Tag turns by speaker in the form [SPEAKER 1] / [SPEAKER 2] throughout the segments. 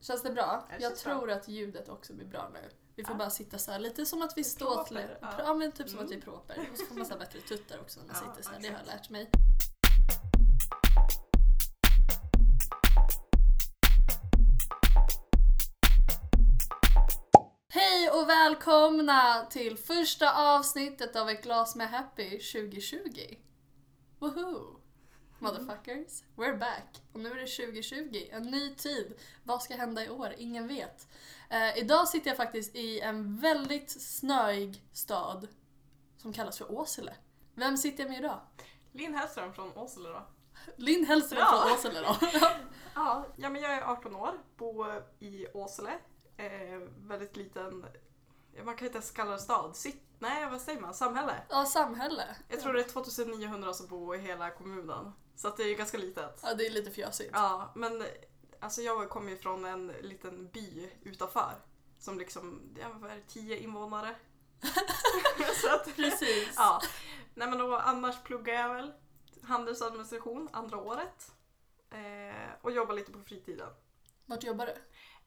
[SPEAKER 1] Känns det bra?
[SPEAKER 2] Ja, det
[SPEAKER 1] jag
[SPEAKER 2] känns
[SPEAKER 1] tror att ljudet också blir bra nu. Vi får
[SPEAKER 2] Ja.
[SPEAKER 1] bara sitta så här lite som att vi står
[SPEAKER 2] Proper,
[SPEAKER 1] till...
[SPEAKER 2] ja.
[SPEAKER 1] Ja men typ som
[SPEAKER 2] Mm.
[SPEAKER 1] att vi är proper. Och så får man så här bättre tuttar också när man
[SPEAKER 2] Ja,
[SPEAKER 1] sitter så här. Det har jag
[SPEAKER 2] exakt.
[SPEAKER 1] lärt mig. Hej och välkomna till första avsnittet av ett glas med Happy 2020. Woohoo! Motherfuckers, we're back! Och nu är det 2020, en ny tid. Vad ska hända i år? Ingen vet. Eh, idag sitter jag faktiskt i en väldigt snöig stad som kallas för Åsele. Vem sitter jag med idag?
[SPEAKER 2] Linn Hellström från Åsele då.
[SPEAKER 1] Linn Hellström
[SPEAKER 2] Ja.
[SPEAKER 1] från Åsele då.
[SPEAKER 2] Ja, ja men jag är 18 år, bor i Åsele. Eh, väldigt liten, ja, man kan inte ens kalla det stad. Sitt, nej vad säger man? Samhälle.
[SPEAKER 1] ja, samhälle.
[SPEAKER 2] Jag tror det är 2900 som bor i hela kommunen. Så att det är ju ganska litet.
[SPEAKER 1] Ja, det är lite fjösigt.
[SPEAKER 2] Ja, men alltså jag kommer ju från en liten by utanför. Som liksom, ja, vad är det, 10 invånare. så att,
[SPEAKER 1] Precis.
[SPEAKER 2] ja. Nej men då, annars pluggar jag väl handelsadministration andra året. Eh, och jobbar lite på fritiden.
[SPEAKER 1] Vart jobbar du?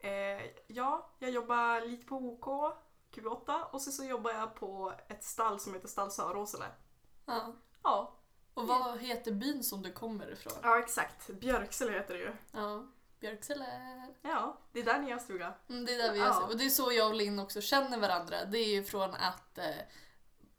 [SPEAKER 2] Eh, ja, jag jobbar lite på OK, Q8 och sen så jobbar jag på ett stall som heter Stall Söråsele.
[SPEAKER 1] Ja.
[SPEAKER 2] Ja.
[SPEAKER 1] Och vad heter byn som du kommer ifrån?
[SPEAKER 2] ja, exakt. Björksele heter det ju.
[SPEAKER 1] Ja, Björksele.
[SPEAKER 2] Ja, det är där ni har stuga.
[SPEAKER 1] Mm, det är där vi
[SPEAKER 2] Ja.
[SPEAKER 1] gör så. Och det är så jag och Linn också känner varandra. Det är ju från att eh,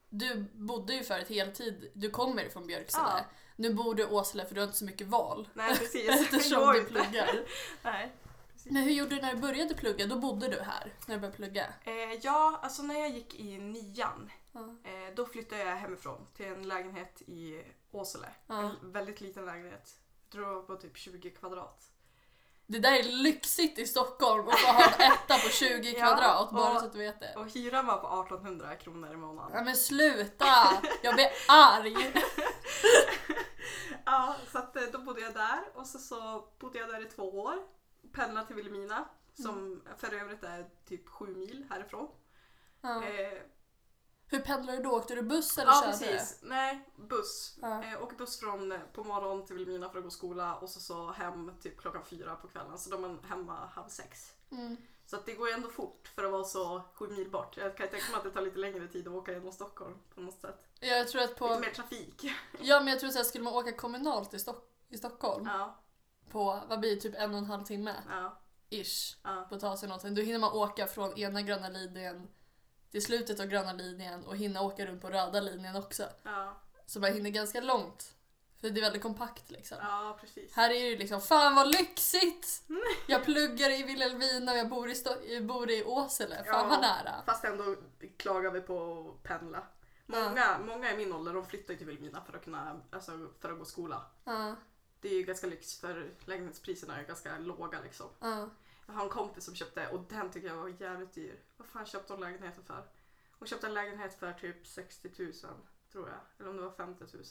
[SPEAKER 1] du bodde ju förut heltid, du kommer från Björksele.
[SPEAKER 2] Ja.
[SPEAKER 1] Nu bor du i Åsele för du har inte så mycket val
[SPEAKER 2] Nej, precis. Det
[SPEAKER 1] eftersom
[SPEAKER 2] går
[SPEAKER 1] du
[SPEAKER 2] inte.
[SPEAKER 1] pluggar.
[SPEAKER 2] Nej.
[SPEAKER 1] Men hur gjorde du när du började plugga? Då bodde du här när du började plugga?
[SPEAKER 2] Eh, ja, alltså när jag gick i nian,
[SPEAKER 1] Ja.
[SPEAKER 2] eh, då flyttade jag hemifrån till en lägenhet i Åsele.
[SPEAKER 1] Ja.
[SPEAKER 2] En väldigt liten lägenhet. Jag tror det var på typ 20 kvadrat.
[SPEAKER 1] Det där är lyxigt i Stockholm att få ha en etta på 20
[SPEAKER 2] Ja,
[SPEAKER 1] kvadrat, bara
[SPEAKER 2] och-
[SPEAKER 1] så att du vet det.
[SPEAKER 2] Och hyran var på 1800 kronor i månaden.
[SPEAKER 1] Ja, men sluta! Jag blir arg!
[SPEAKER 2] Ja, så att, eh, då bodde jag där och så, så bodde jag där i två år. Pendlade till Vilhelmina som
[SPEAKER 1] Mm.
[SPEAKER 2] för övrigt är typ sju mil härifrån.
[SPEAKER 1] Ja.
[SPEAKER 2] Eh,
[SPEAKER 1] Hur pendlade du då? Åkte du buss eller
[SPEAKER 2] ja,
[SPEAKER 1] körde du?
[SPEAKER 2] precis. Nej, buss.
[SPEAKER 1] Ja.
[SPEAKER 2] Eh, åker buss från eh, på morgonen till Vilhelmina för att gå i skola och så, så hem typ klockan fyra på kvällen så då är man hemma halv sex.
[SPEAKER 1] Mm.
[SPEAKER 2] Så att det går ju ändå fort för att vara så sju mil bort. Jag kan ju tänka mig att det tar lite längre tid att åka genom Stockholm på något sätt.
[SPEAKER 1] Jag tror att på
[SPEAKER 2] Lite mer trafik.
[SPEAKER 1] Ja men jag tror såhär, skulle man åka kommunalt i, Stock- i Stockholm
[SPEAKER 2] Ja,
[SPEAKER 1] på, vad blir det, typ en och en halv timme
[SPEAKER 2] ja,
[SPEAKER 1] ish
[SPEAKER 2] ja.
[SPEAKER 1] på att ta sig någonting. Då hinner man åka från ena gröna linjen till slutet av gröna linjen och hinna åka runt på röda linjen också.
[SPEAKER 2] Ja,
[SPEAKER 1] Så man hinner ganska långt. För det är väldigt kompakt liksom.
[SPEAKER 2] ja precis.
[SPEAKER 1] Här är det ju liksom, fan vad lyxigt! Jag pluggar i Vilhelmina och jag bor i, Sto- jag bor i Åsele, fan
[SPEAKER 2] Ja.
[SPEAKER 1] vad nära.
[SPEAKER 2] Fast ändå klagar vi på att pendla. Många, många i min ålder de flyttar ju till Vilhelmina för att kunna alltså, för att gå i skola.
[SPEAKER 1] Ja,
[SPEAKER 2] Det är ju ganska lyx för lägenhetspriserna är ganska låga liksom.
[SPEAKER 1] ja.
[SPEAKER 2] Jag har en kompis som köpte och den tycker jag var jävligt dyr. Vad fan köpte hon lägenheten för? Hon köpte en lägenhet för typ 60 000 tror jag. Eller om det var 50 000.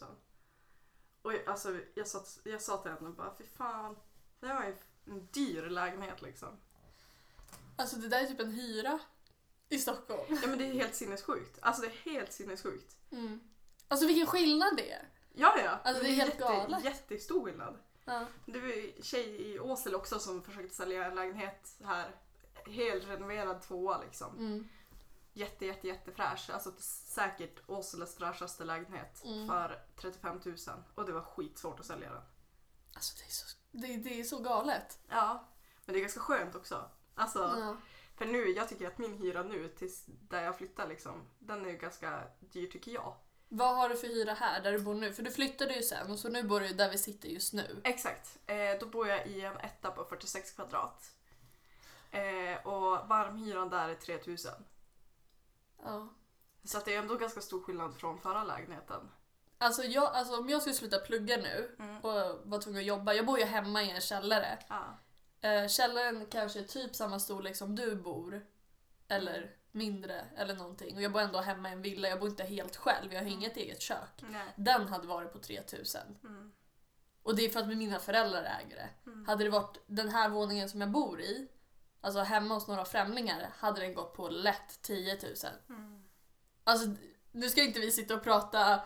[SPEAKER 2] Och jag, alltså, jag, sa, jag sa till henne bara fy fan. Det här var ju en dyr lägenhet liksom.
[SPEAKER 1] Alltså det där är typ en hyra i Stockholm.
[SPEAKER 2] Ja men det är helt sinnessjukt. Alltså det är helt sinnessjukt.
[SPEAKER 1] Mm. Alltså vilken skillnad det är.
[SPEAKER 2] Ja, ja.
[SPEAKER 1] Alltså, det är helt
[SPEAKER 2] jätte,
[SPEAKER 1] galet.
[SPEAKER 2] Jättestor skillnad.
[SPEAKER 1] Ja.
[SPEAKER 2] Det var ju en tjej i Åsele också som försökte sälja en lägenhet här. Helrenoverad tvåa liksom.
[SPEAKER 1] Mm.
[SPEAKER 2] Jätte, jätte, jättefräsch. Alltså säkert Åseles fräschaste lägenhet
[SPEAKER 1] Mm.
[SPEAKER 2] för 35 000. Och det var skitsvårt att sälja den.
[SPEAKER 1] Alltså det är så, det, det är så galet.
[SPEAKER 2] Ja. Men det är ganska skönt också. Alltså,
[SPEAKER 1] Ja.
[SPEAKER 2] för nu, jag tycker att min hyra nu tills där jag flyttar liksom, den är ju ganska dyr tycker jag.
[SPEAKER 1] Vad har du för hyra här där du bor nu? För du flyttade ju sen och så nu bor du ju där vi sitter just nu.
[SPEAKER 2] Exakt. Eh, då bor jag i en etta på 46 kvadrat. Eh, och varmhyran där är 3000.
[SPEAKER 1] Ja.
[SPEAKER 2] Så att det är ändå ganska stor skillnad från förra lägenheten.
[SPEAKER 1] Alltså, jag, alltså om jag skulle sluta plugga nu
[SPEAKER 2] Mm.
[SPEAKER 1] och var tvungen att jobba. Jag bor ju hemma i en källare.
[SPEAKER 2] Ja.
[SPEAKER 1] Eh, källaren kanske är typ samma storlek som du bor. Eller mindre eller någonting. Och jag bor ändå hemma i en villa. Jag bor inte helt själv. Jag har inget eget kök.
[SPEAKER 2] Nej.
[SPEAKER 1] Den hade varit på 3000.
[SPEAKER 2] Mm.
[SPEAKER 1] Och det är för att mina föräldrar äger det.
[SPEAKER 2] Mm.
[SPEAKER 1] Hade det varit den här våningen som jag bor i, alltså hemma hos några främlingar, hade den gått på lätt 10 000.
[SPEAKER 2] Mm.
[SPEAKER 1] Alltså, nu ska inte vi sitta och prata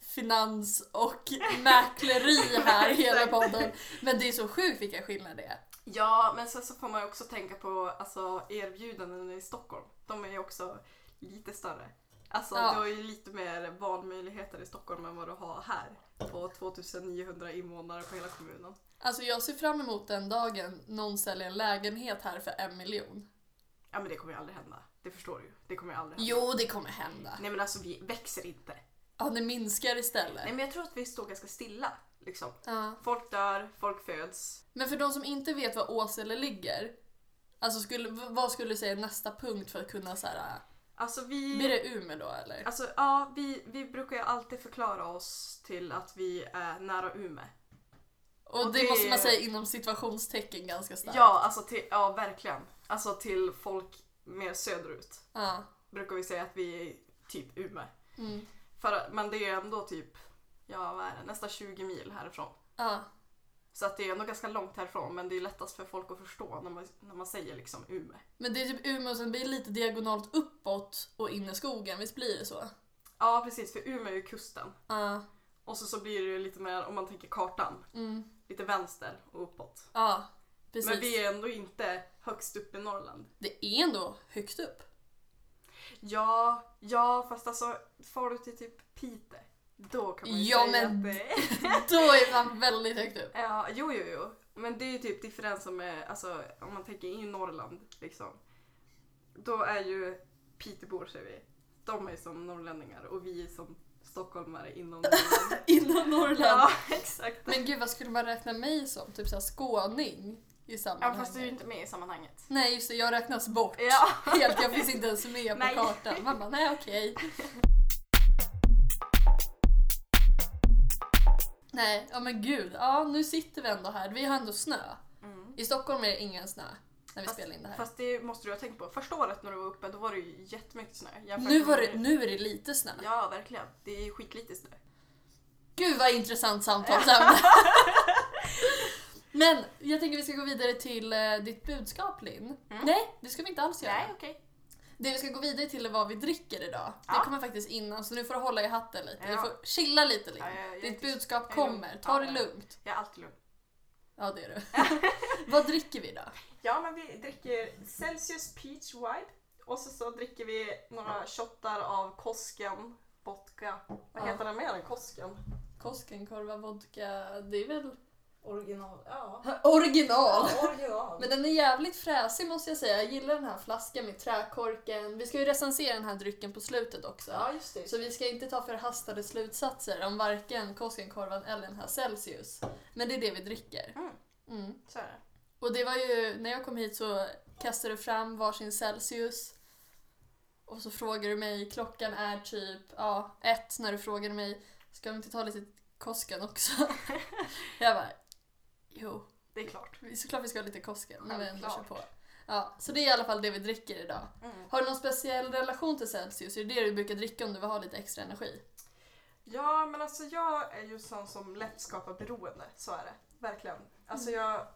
[SPEAKER 1] finans och mäkleri här i hela
[SPEAKER 2] Exakt.
[SPEAKER 1] podden. Men det är så sjukt vilken skillnad det är.
[SPEAKER 2] Ja, men sen så får man ju också tänka på alltså, erbjudanden i Stockholm. De är ju också lite större. Alltså
[SPEAKER 1] Ja.
[SPEAKER 2] du har ju lite mer valmöjligheter i Stockholm än vad du har här. På 2900 invånare på hela kommunen.
[SPEAKER 1] Alltså jag ser fram emot den dagen någon säljer en lägenhet här för en miljon.
[SPEAKER 2] Ja men det kommer ju aldrig hända. Det förstår du ju. Det kommer ju aldrig hända.
[SPEAKER 1] Jo, det kommer hända.
[SPEAKER 2] Nej men alltså vi växer inte.
[SPEAKER 1] Ja, det minskar istället.
[SPEAKER 2] Nej men jag tror att vi står ganska stilla. Liksom.
[SPEAKER 1] Ja.
[SPEAKER 2] Folk dör, folk föds.
[SPEAKER 1] Men för de som inte vet var Åsele ligger, alltså skulle, v- vad skulle du säga är nästa punkt för att kunna så här, äh,
[SPEAKER 2] Alltså vi...
[SPEAKER 1] blir det Umeå då eller?
[SPEAKER 2] Alltså ja, vi, vi brukar ju alltid förklara oss till att vi är nära Umeå.
[SPEAKER 1] Och
[SPEAKER 2] och
[SPEAKER 1] det
[SPEAKER 2] Alltså, det-
[SPEAKER 1] måste man säga inom situationstecken ganska starkt.
[SPEAKER 2] Ja, alltså till, ja verkligen. Alltså till folk mer söderut
[SPEAKER 1] Ja.
[SPEAKER 2] brukar vi säga att vi är typ Umeå.
[SPEAKER 1] Mm.
[SPEAKER 2] För, att- men det är ändå typ, ja vad är det, nästan 20 mil härifrån.
[SPEAKER 1] Ja.
[SPEAKER 2] Så att det är ändå ganska långt härifrån men det är lättast för folk att förstå när man, när man säger liksom Umeå.
[SPEAKER 1] Men det är typ Umeå och sen blir det lite diagonalt uppåt och in i skogen, visst blir det så?
[SPEAKER 2] Ja precis, för Umeå är ju kusten.
[SPEAKER 1] Ja.
[SPEAKER 2] Och så, så blir det ju lite mer, om man tänker kartan,
[SPEAKER 1] Mm.
[SPEAKER 2] lite vänster och uppåt.
[SPEAKER 1] Ja, precis.
[SPEAKER 2] Men vi är ändå inte högst upp i Norrland.
[SPEAKER 1] Det är ändå högt upp.
[SPEAKER 2] Ja, ja fast alltså far du till typ Piteå, då kan man ju
[SPEAKER 1] Ja,
[SPEAKER 2] säga
[SPEAKER 1] men-
[SPEAKER 2] att det är...
[SPEAKER 1] Då är man väldigt högt upp.
[SPEAKER 2] Ja, jo, jo, jo. Men det är ju typ differensen med, alltså om man tänker i Norrland liksom. Då är ju Piteåbor säger vi, de är som norrlänningar och vi är som stockholmare inom Norrland.
[SPEAKER 1] Inom Norrland.
[SPEAKER 2] ja, exakt.
[SPEAKER 1] Men gud, vad skulle man räkna mig som? Typ såhär skåning i
[SPEAKER 2] Ja,
[SPEAKER 1] sammanhanget.
[SPEAKER 2] fast du är ju inte med i sammanhanget.
[SPEAKER 1] Nej, just det, jag räknas bort.
[SPEAKER 2] Ja.
[SPEAKER 1] Helt, jag finns inte ens med på
[SPEAKER 2] Nej.
[SPEAKER 1] kartan. Man bara, nej okej. Nej, ja men gud. Ja, nu sitter vi ändå här. Vi har ändå snö.
[SPEAKER 2] Mm.
[SPEAKER 1] I Stockholm är det ingen snö när vi
[SPEAKER 2] Fast-
[SPEAKER 1] spelar in det här.
[SPEAKER 2] Fast det måste du ha tänkt på. Första året när du var uppe, då var det ju jättemycket snö. jämfört
[SPEAKER 1] Nu,
[SPEAKER 2] med
[SPEAKER 1] var
[SPEAKER 2] vad
[SPEAKER 1] det, nu är det lite snö.
[SPEAKER 2] Ja, verkligen. Det är ju skitlite snö.
[SPEAKER 1] Gud vad intressant samtalsämne. men jag tänker vi ska gå vidare till eh, ditt budskap Linn.
[SPEAKER 2] Mm.
[SPEAKER 1] Nej, det ska vi inte alls göra.
[SPEAKER 2] Nej, okej.
[SPEAKER 1] Det vi ska gå vidare till är vad vi dricker idag.
[SPEAKER 2] Ja.
[SPEAKER 1] Det kommer faktiskt innan så nu får du hålla i hatten lite. Du
[SPEAKER 2] Ja.
[SPEAKER 1] får chilla lite Linn.
[SPEAKER 2] Ja, ja, jag är
[SPEAKER 1] Ditt
[SPEAKER 2] tyst.
[SPEAKER 1] budskap
[SPEAKER 2] Jag är
[SPEAKER 1] kommer.
[SPEAKER 2] lugn.
[SPEAKER 1] Ta
[SPEAKER 2] Ja,
[SPEAKER 1] det
[SPEAKER 2] ja.
[SPEAKER 1] lugnt.
[SPEAKER 2] Jag är alltid lugn.
[SPEAKER 1] Ja det är du. vad dricker vi då?
[SPEAKER 2] Ja, men vi dricker Celsius Peach Wide och så, så dricker vi några shottar av Kosken vodka. Vad
[SPEAKER 1] Ja.
[SPEAKER 2] heter den mer än Kosken?
[SPEAKER 1] Koskenkorva, vodka, det är väl
[SPEAKER 2] Original. Ja.
[SPEAKER 1] original.
[SPEAKER 2] original.
[SPEAKER 1] Men den är jävligt fräsig måste jag säga. Jag gillar den här flaskan med träkorken. Vi ska ju recensera den här drycken på slutet också.
[SPEAKER 2] ja, just det.
[SPEAKER 1] Så vi ska inte ta förhastade slutsatser om varken Koskenkorvan eller den här Celsius. Men det är det vi dricker.
[SPEAKER 2] Mm.
[SPEAKER 1] Mm.
[SPEAKER 2] Så är det.
[SPEAKER 1] Och det var ju, när jag kom hit så kastade du fram varsin Celsius. Och så frågade du mig, klockan är typ ja, ett när du frågade mig, ska vi inte ta lite Kosken också? jag bara, jo,
[SPEAKER 2] Det är klart.
[SPEAKER 1] vi- såklart vi ska ha lite Kosken när vi ändå kör
[SPEAKER 2] Självklart.
[SPEAKER 1] på. Ja, så det är i alla fall det vi dricker idag.
[SPEAKER 2] Mm.
[SPEAKER 1] Har du någon speciell relation till Celsius? Är det det du brukar dricka om du vill ha lite extra energi?
[SPEAKER 2] Ja, men alltså jag är ju sån som lätt skapar beroende. Så är det. Verkligen. Alltså
[SPEAKER 1] Mm.
[SPEAKER 2] jag...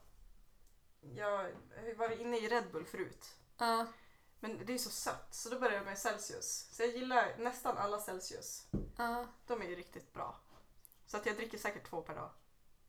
[SPEAKER 2] Jag har ju varit inne i Red Bull förut.
[SPEAKER 1] Ja,
[SPEAKER 2] Men det är så sött, så då börjar jag med Celsius. Så jag gillar nästan alla Celsius.
[SPEAKER 1] ja.
[SPEAKER 2] De är ju riktigt bra. Så att jag dricker säkert två per dag.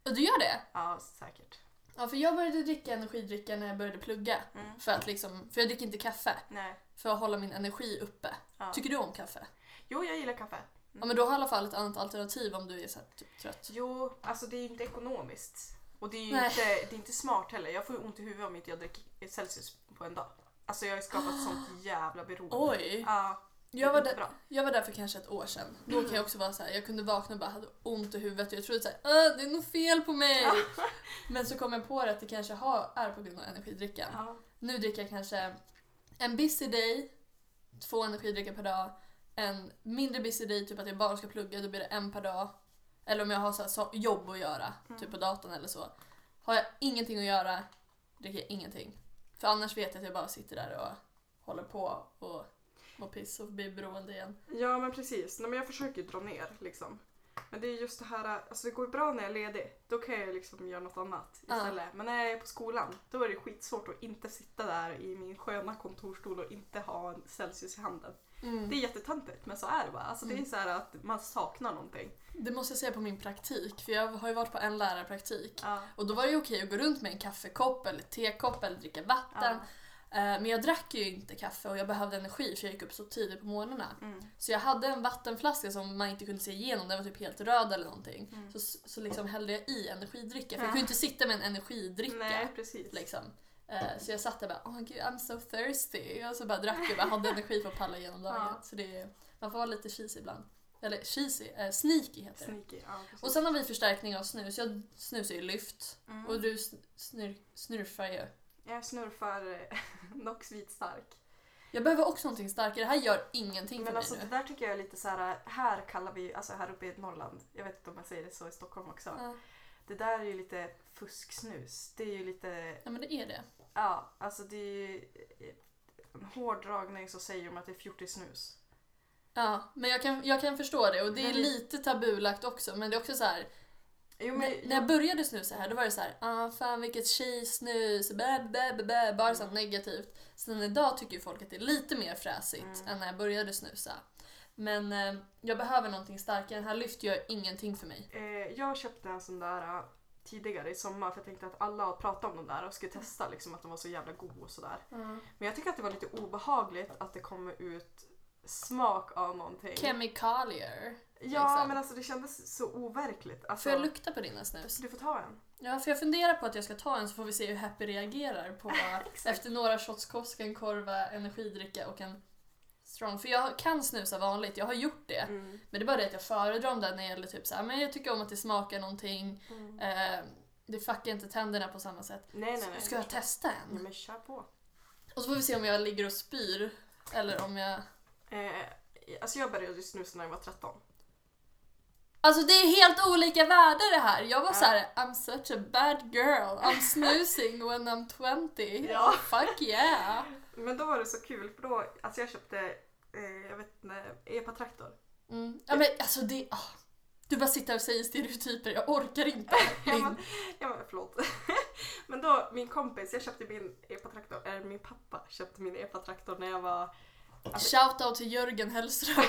[SPEAKER 1] Och du gör det?
[SPEAKER 2] Ja, säkert.
[SPEAKER 1] Ja, för jag började dricka energidricka när jag började plugga.
[SPEAKER 2] Mm.
[SPEAKER 1] För att liksom, för jag dricker inte kaffe.
[SPEAKER 2] Nej.
[SPEAKER 1] För att hålla min energi uppe.
[SPEAKER 2] Ja. Mm.
[SPEAKER 1] Tycker du om kaffe?
[SPEAKER 2] Jo, jag gillar kaffe.
[SPEAKER 1] Ja men då har i alla fall ett annat alternativ om du är så här, typ, trött.
[SPEAKER 2] Jo, alltså det är ju inte ekonomiskt. Och det är ju
[SPEAKER 1] Nej.
[SPEAKER 2] inte, det är inte smart heller. Jag får ju ont i huvudet om inte jag dricker Celsius på en dag. Alltså jag har ju skapat sånt jävla beroende.
[SPEAKER 1] Oj!
[SPEAKER 2] Ja, det är
[SPEAKER 1] Jag var,
[SPEAKER 2] inte
[SPEAKER 1] där,
[SPEAKER 2] bra.
[SPEAKER 1] jag var där för kanske ett år sedan. Då kan jag också vara så här, jag kunde vakna och bara hade ont i huvudet och jag trodde så här, "Åh, det är något fel på mig. Men så kom jag på det att det kanske har, är på grund av energidrickan.
[SPEAKER 2] Ja.
[SPEAKER 1] Nu dricker jag kanske en busy day, två energidrycker per dag. En mindre busy day, typ att jag bara ska plugga, då blir det en per dag. Eller om jag har så här, så jobb att göra, typ på datorn eller så. Har jag ingenting att göra, dricker jag ingenting. För annars vet jag att jag bara sitter där och håller på och mår piss och blir beroende igen.
[SPEAKER 2] ja, men precis. Nej, men jag försöker ju dra ner liksom. Men det är just det här, alltså det går ju bra när jag är ledig. Då kan jag ju liksom göra något annat
[SPEAKER 1] Ja.
[SPEAKER 2] istället. Men när jag är på skolan, då är det skitsvårt att inte sitta där i min sköna kontorsstol och inte ha en Celsius i handen.
[SPEAKER 1] Mm.
[SPEAKER 2] Det är jättetöntigt, men så är det bara. Alltså det är
[SPEAKER 1] Mm.
[SPEAKER 2] så här att man saknar någonting.
[SPEAKER 1] Det måste jag säga på min praktik, för jag har ju varit på en lärarpraktik.
[SPEAKER 2] Ja.
[SPEAKER 1] Och då var det ju okej att gå runt med en kaffekopp eller tekopp eller dricka vatten. Eh, Men jag drack ju inte kaffe och jag behövde energi för jag gick upp så tidigt på morgnarna.
[SPEAKER 2] Mm.
[SPEAKER 1] Så jag hade en vattenflaska som man inte kunde se igenom, den var typ helt röd eller någonting.
[SPEAKER 2] Mm.
[SPEAKER 1] Så, så liksom hällde jag i energidricka, för
[SPEAKER 2] Ja.
[SPEAKER 1] jag kunde inte sitta med en energidricka.
[SPEAKER 2] Nej, precis.
[SPEAKER 1] Liksom. Eh, Så jag satt där och bara oh, gud, I'm so thirsty. Och så bara drack jag bara hade energi för att palla igenom dagen.
[SPEAKER 2] Ja.
[SPEAKER 1] Så det är, man får vara lite cheesy ibland. Eller cheesy, eh, sneaky heter det.
[SPEAKER 2] Sneaky, ja, precis.
[SPEAKER 1] Och sen har vi förstärkning av snus. Jag snusar ju lyft
[SPEAKER 2] Mm.
[SPEAKER 1] och du sn- snur, snurfar ju.
[SPEAKER 2] Jag snurfar eh, Nox vit stark.
[SPEAKER 1] Jag behöver också någonting starkare. Det här gör ingenting för
[SPEAKER 2] Men
[SPEAKER 1] mig
[SPEAKER 2] alltså det
[SPEAKER 1] nu.
[SPEAKER 2] där tycker jag är lite så här, här kallar vi, alltså här uppe i Norrland, jag vet inte om jag säger det så i Stockholm också.
[SPEAKER 1] Ja.
[SPEAKER 2] Det där är ju lite fusksnus. Det är ju lite,
[SPEAKER 1] Ja men det är det.
[SPEAKER 2] ja, alltså det är ju eh, en hård dragning så säger de att det är 40 snus.
[SPEAKER 1] Ja, men jag kan, jag kan förstå det och det är
[SPEAKER 2] Men det-
[SPEAKER 1] lite tabulagt också men det är också så här.
[SPEAKER 2] Jo
[SPEAKER 1] när, när jag började snusa här då var det så här, ah fan vilket tjejsnus, bä, bä, bä, bä,
[SPEAKER 2] Mm.
[SPEAKER 1] bara sånt negativt. Sen idag tycker ju folk att det är lite mer fräsigt
[SPEAKER 2] Mm.
[SPEAKER 1] än när jag började snusa. Men eh, jag behöver någonting starkare, den här lyft gör ingenting för mig.
[SPEAKER 2] eh, jag köpte en sån där eh, tidigare i sommar för jag tänkte att alla har pratat om den där och skulle testa liksom att den var så jävla god och sådär. Men jag tycker att det var lite obehagligt att det kommer ut smak av någonting.
[SPEAKER 1] Chemicalier.
[SPEAKER 2] Ja,
[SPEAKER 1] Exakt.
[SPEAKER 2] men alltså det kändes så overkligt. Alltså,
[SPEAKER 1] Får jag lukta på dina snus?
[SPEAKER 2] Du får ta en.
[SPEAKER 1] Ja, för jag funderar på att jag ska ta en så får vi se hur Happy reagerar på efter några shots Koskenkorva, en korva, energidricka och en strong. För jag kan snusa vanligt, jag har gjort det.
[SPEAKER 2] Mm.
[SPEAKER 1] Men det är bara det att jag föredrar om det när det gäller typ så här, men jag tycker om att det smakar någonting. Eh, det fuckar inte tänderna på samma sätt.
[SPEAKER 2] Mm. Nej, nej, nej.
[SPEAKER 1] Ska jag testa
[SPEAKER 2] Ja,
[SPEAKER 1] en?
[SPEAKER 2] men kör på.
[SPEAKER 1] Och så får vi se om jag ligger och spyr eller om jag...
[SPEAKER 2] Eh, alltså jag började snusa när jag var 13.
[SPEAKER 1] Alltså det är helt olika världar det här. Jag var så här: I'm such a bad girl. I'm snusing when I'm 20.
[SPEAKER 2] Ja.
[SPEAKER 1] Fuck yeah.
[SPEAKER 2] Men då var det så kul för då, alltså jag köpte, eh, jag vet inte, epatraktor.
[SPEAKER 1] Mm. Ja men alltså det... ah. Du bara sitter och säger stereotyper, jag orkar inte.
[SPEAKER 2] Ja, men, ja, men, förlåt. men då, min kompis, jag köpte min E epatraktor, eller min pappa köpte min E epatraktor när jag var
[SPEAKER 1] Shoutout till Jörgen Hellström.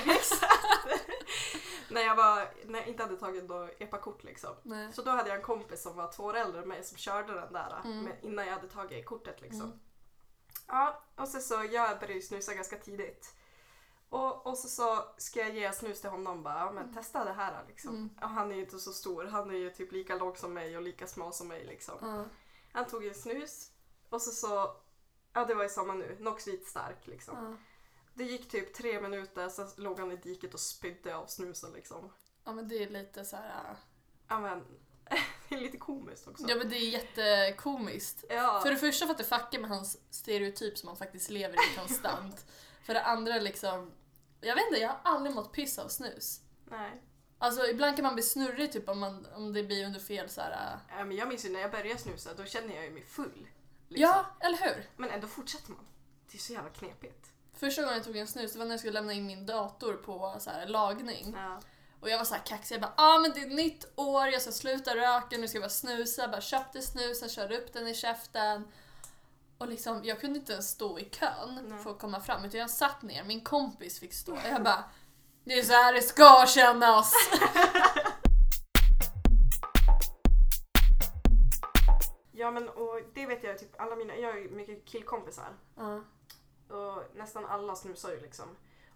[SPEAKER 2] när jag, var, när jag inte hade tagit då epakort liksom.
[SPEAKER 1] Nej.
[SPEAKER 2] Så då hade jag en kompis som var två år äldre än mig som körde den där
[SPEAKER 1] Mm.
[SPEAKER 2] med, innan jag hade tagit kortet liksom. Ja, och sen så jag började ju snusa ganska tidigt. Och, och så, så ska jag ge snus till honom bara, ja, men testa det här liksom.
[SPEAKER 1] Mm.
[SPEAKER 2] Och han är ju inte så stor, han är ju typ lika lång som mig och lika smal som mig liksom.
[SPEAKER 1] Ja.
[SPEAKER 2] Han tog ju snus och så så, ja det var ju samma nu, Nox vit stark liksom.
[SPEAKER 1] Ja.
[SPEAKER 2] Det gick typ tre minuter, sen låg han i diket och spydde av snusen liksom.
[SPEAKER 1] ja men det är lite så här. ah.
[SPEAKER 2] Ja men, det är lite komiskt också.
[SPEAKER 1] Ja men det är jättekomiskt.
[SPEAKER 2] Ja,
[SPEAKER 1] För det första för att det fuckar med hans stereotyp som han faktiskt lever i konstant. För det andra liksom, jag vet inte, jag har aldrig mått piss av snus.
[SPEAKER 2] nej.
[SPEAKER 1] Alltså ibland kan man bli snurrig typ om, man, om det blir under fel så här. ah.
[SPEAKER 2] Ja, men jag minns ju när jag började snusa, då kände jag ju mig full. Liksom.
[SPEAKER 1] Ja, eller hur?
[SPEAKER 2] Men ändå fortsätter man. Det är så jävla knepigt.
[SPEAKER 1] Första gången jag tog en snus det var när jag skulle lämna in min dator på så här, lagning.
[SPEAKER 2] Ja.
[SPEAKER 1] Och jag var så här kaxig, jag bara ah men det är ett nytt år, jag ska sluta röka, nu ska jag bara snusa. Jag bara köpte snusen, körde upp den i käften. Och liksom, jag kunde inte ens stå i kön
[SPEAKER 2] Nej.
[SPEAKER 1] för att komma fram utan jag satt ner, min kompis fick stå. Jag bara det är så här det ska kännas!
[SPEAKER 2] ja men och det vet jag typ alla mina, jag har ju mycket killkompisar
[SPEAKER 1] Ja.
[SPEAKER 2] och nästan alla snusar ju liksom.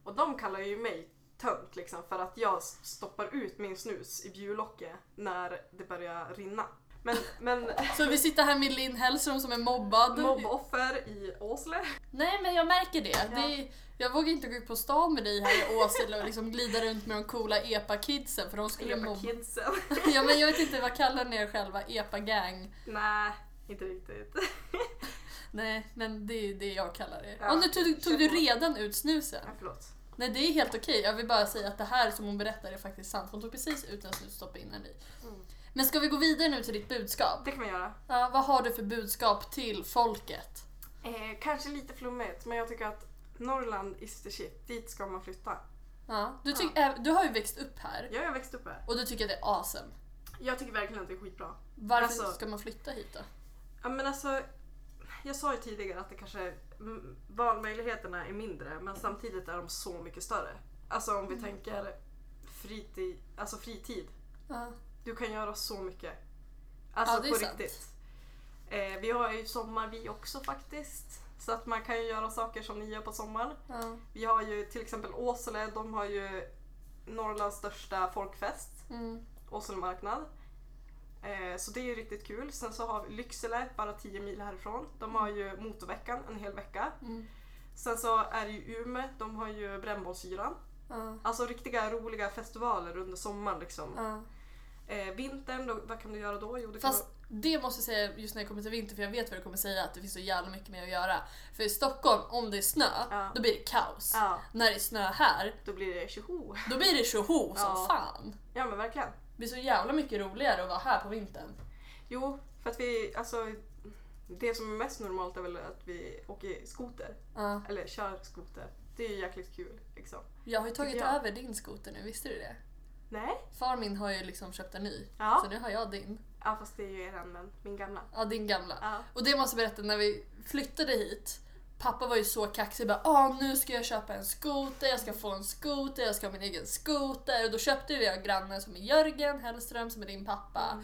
[SPEAKER 2] Och de kallar ju mig tönt liksom för att jag stoppar ut min snus i bjurlocket när det börjar rinna. Men, men
[SPEAKER 1] Så vi sitter här med Linn Hellström som är mobbad.
[SPEAKER 2] mobboffer i Åsele.
[SPEAKER 1] Nej men jag märker det. det är, jag vågar inte gå ut på stan med dig här i Åsele och liksom glida runt med de coola EPA-kidsen för de skulle
[SPEAKER 2] Epa
[SPEAKER 1] mobba.
[SPEAKER 2] kidsen.
[SPEAKER 1] Ja men jag vet inte, vad kallar ni er själva? EPA-gang?
[SPEAKER 2] Nej, inte riktigt.
[SPEAKER 1] Nej, men det är ju det jag kallar det.
[SPEAKER 2] Ja,
[SPEAKER 1] Ja, nu tog,
[SPEAKER 2] kör
[SPEAKER 1] tog du
[SPEAKER 2] på.
[SPEAKER 1] redan ut snusen?
[SPEAKER 2] Nej, förlåt.
[SPEAKER 1] Nej, det är helt okej. Jag vill bara säga att det här som hon berättar är faktiskt sant. Hon tog precis ut en snus och stoppade in den i.
[SPEAKER 2] Mm.
[SPEAKER 1] Men ska vi gå vidare nu till ditt budskap?
[SPEAKER 2] Det kan man göra.
[SPEAKER 1] Ja, vad har du för budskap till folket?
[SPEAKER 2] Eh, kanske lite flummigt, men jag tycker att Norrland is the shit. Dit ska man flytta.
[SPEAKER 1] Ja. Du, tyck, eh, du har ju växt upp här
[SPEAKER 2] Ja, jag växte upp här.
[SPEAKER 1] och du tycker att det är awesome.
[SPEAKER 2] Jag tycker verkligen att det är skitbra.
[SPEAKER 1] Varför
[SPEAKER 2] Alltså-
[SPEAKER 1] ska man flytta hit då?
[SPEAKER 2] Ja, men alltså, jag sa ju tidigare att det kanske mm, valmöjligheterna är mindre men samtidigt är de så mycket större. Alltså om vi
[SPEAKER 1] Mm.
[SPEAKER 2] tänker fritid, alltså fritid.
[SPEAKER 1] Ja.
[SPEAKER 2] Du kan göra så mycket. Alltså
[SPEAKER 1] Ja, det är
[SPEAKER 2] på
[SPEAKER 1] sant.
[SPEAKER 2] riktigt. Eh, vi har ju sommar vi också faktiskt. Så att man kan ju göra saker som ni gör på sommaren.
[SPEAKER 1] Ja.
[SPEAKER 2] Vi har ju till exempel Åsele, de har ju Norrlands största folkfest.
[SPEAKER 1] Mm.
[SPEAKER 2] Åsele marknad. Eh, så det är ju riktigt kul. Sen så har vi Lycksele, bara 10 mil härifrån. De har ju motorveckan en hel vecka.
[SPEAKER 1] Mm.
[SPEAKER 2] Sen så är det ju Umeå, de har ju brännbollsyran.
[SPEAKER 1] Ja.
[SPEAKER 2] Alltså riktiga roliga festivaler under sommaren liksom.
[SPEAKER 1] Ja.
[SPEAKER 2] Eh, vintern, då, vad kan du göra då? Jo, du kan
[SPEAKER 1] Fast det måste jag säga just när jag kommer till vinter för jag vet vad du kommer säga att det finns så jävla mycket mer att göra. För i Stockholm, om det är snö,
[SPEAKER 2] Ja.
[SPEAKER 1] då blir det kaos.
[SPEAKER 2] Ja,
[SPEAKER 1] När det är snö här,
[SPEAKER 2] då blir det tjoho.
[SPEAKER 1] då blir det tjoho som
[SPEAKER 2] Ja.
[SPEAKER 1] fan.
[SPEAKER 2] Ja men verkligen.
[SPEAKER 1] Det blir så jävla mycket roligare att vara här på vintern.
[SPEAKER 2] Jo, för att vi, alltså det som är mest normalt är väl att vi åker skoter.
[SPEAKER 1] Ja.
[SPEAKER 2] Eller kör skoter. Det är ju jäkligt kul liksom.
[SPEAKER 1] Jag har ju tagit
[SPEAKER 2] Tycker jag.
[SPEAKER 1] över din skoter nu, visste du det?
[SPEAKER 2] Nej?
[SPEAKER 1] Far min har ju liksom köpt en ny,
[SPEAKER 2] Ja.
[SPEAKER 1] så nu har jag din.
[SPEAKER 2] Ja fast det är ju eran men, min gamla.
[SPEAKER 1] Ja, din gamla.
[SPEAKER 2] Ja.
[SPEAKER 1] Och det måste jag berätta, när vi flyttade hit Pappa var ju så kaxig bara ah, nu ska jag köpa en skoter, jag ska få en skoter, jag ska ha min egen skoter. Och då köpte vi av grannen som är Jörgen Hellström som är din pappa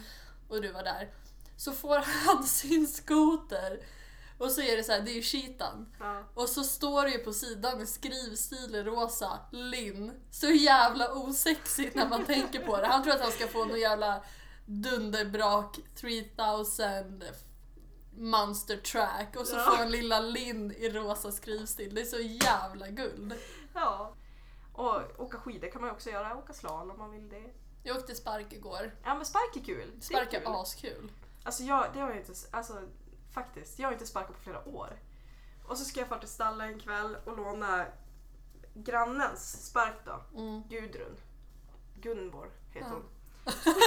[SPEAKER 1] och du var där. Så får han sin skoter och så är det så här, det är ju Cheetan.
[SPEAKER 2] Ja.
[SPEAKER 1] Och så står det ju på sidan i skrivstil i rosa, Linn. Så jävla osexigt när man tänker på det. Han tror att han ska få någon jävla dunderbrak 3000 monster track och så
[SPEAKER 2] Ja.
[SPEAKER 1] får han lilla Linn i rosa skrivstil. Det är så jävla guld.
[SPEAKER 2] ja. Och åka skidor kan man ju också göra, åka slalom om man vill det.
[SPEAKER 1] Jag åkte spark igår.
[SPEAKER 2] Ja men spark är kul. Det är
[SPEAKER 1] Spark
[SPEAKER 2] kul.
[SPEAKER 1] är askul.
[SPEAKER 2] Alltså jag, det har jag inte, alltså faktiskt, jag har inte sparkat på flera år. Och så ska jag fara till stallet en kväll och låna grannens spark då,
[SPEAKER 1] Mm.
[SPEAKER 2] Gudrun. Gunvor heter
[SPEAKER 1] Ja.
[SPEAKER 2] hon.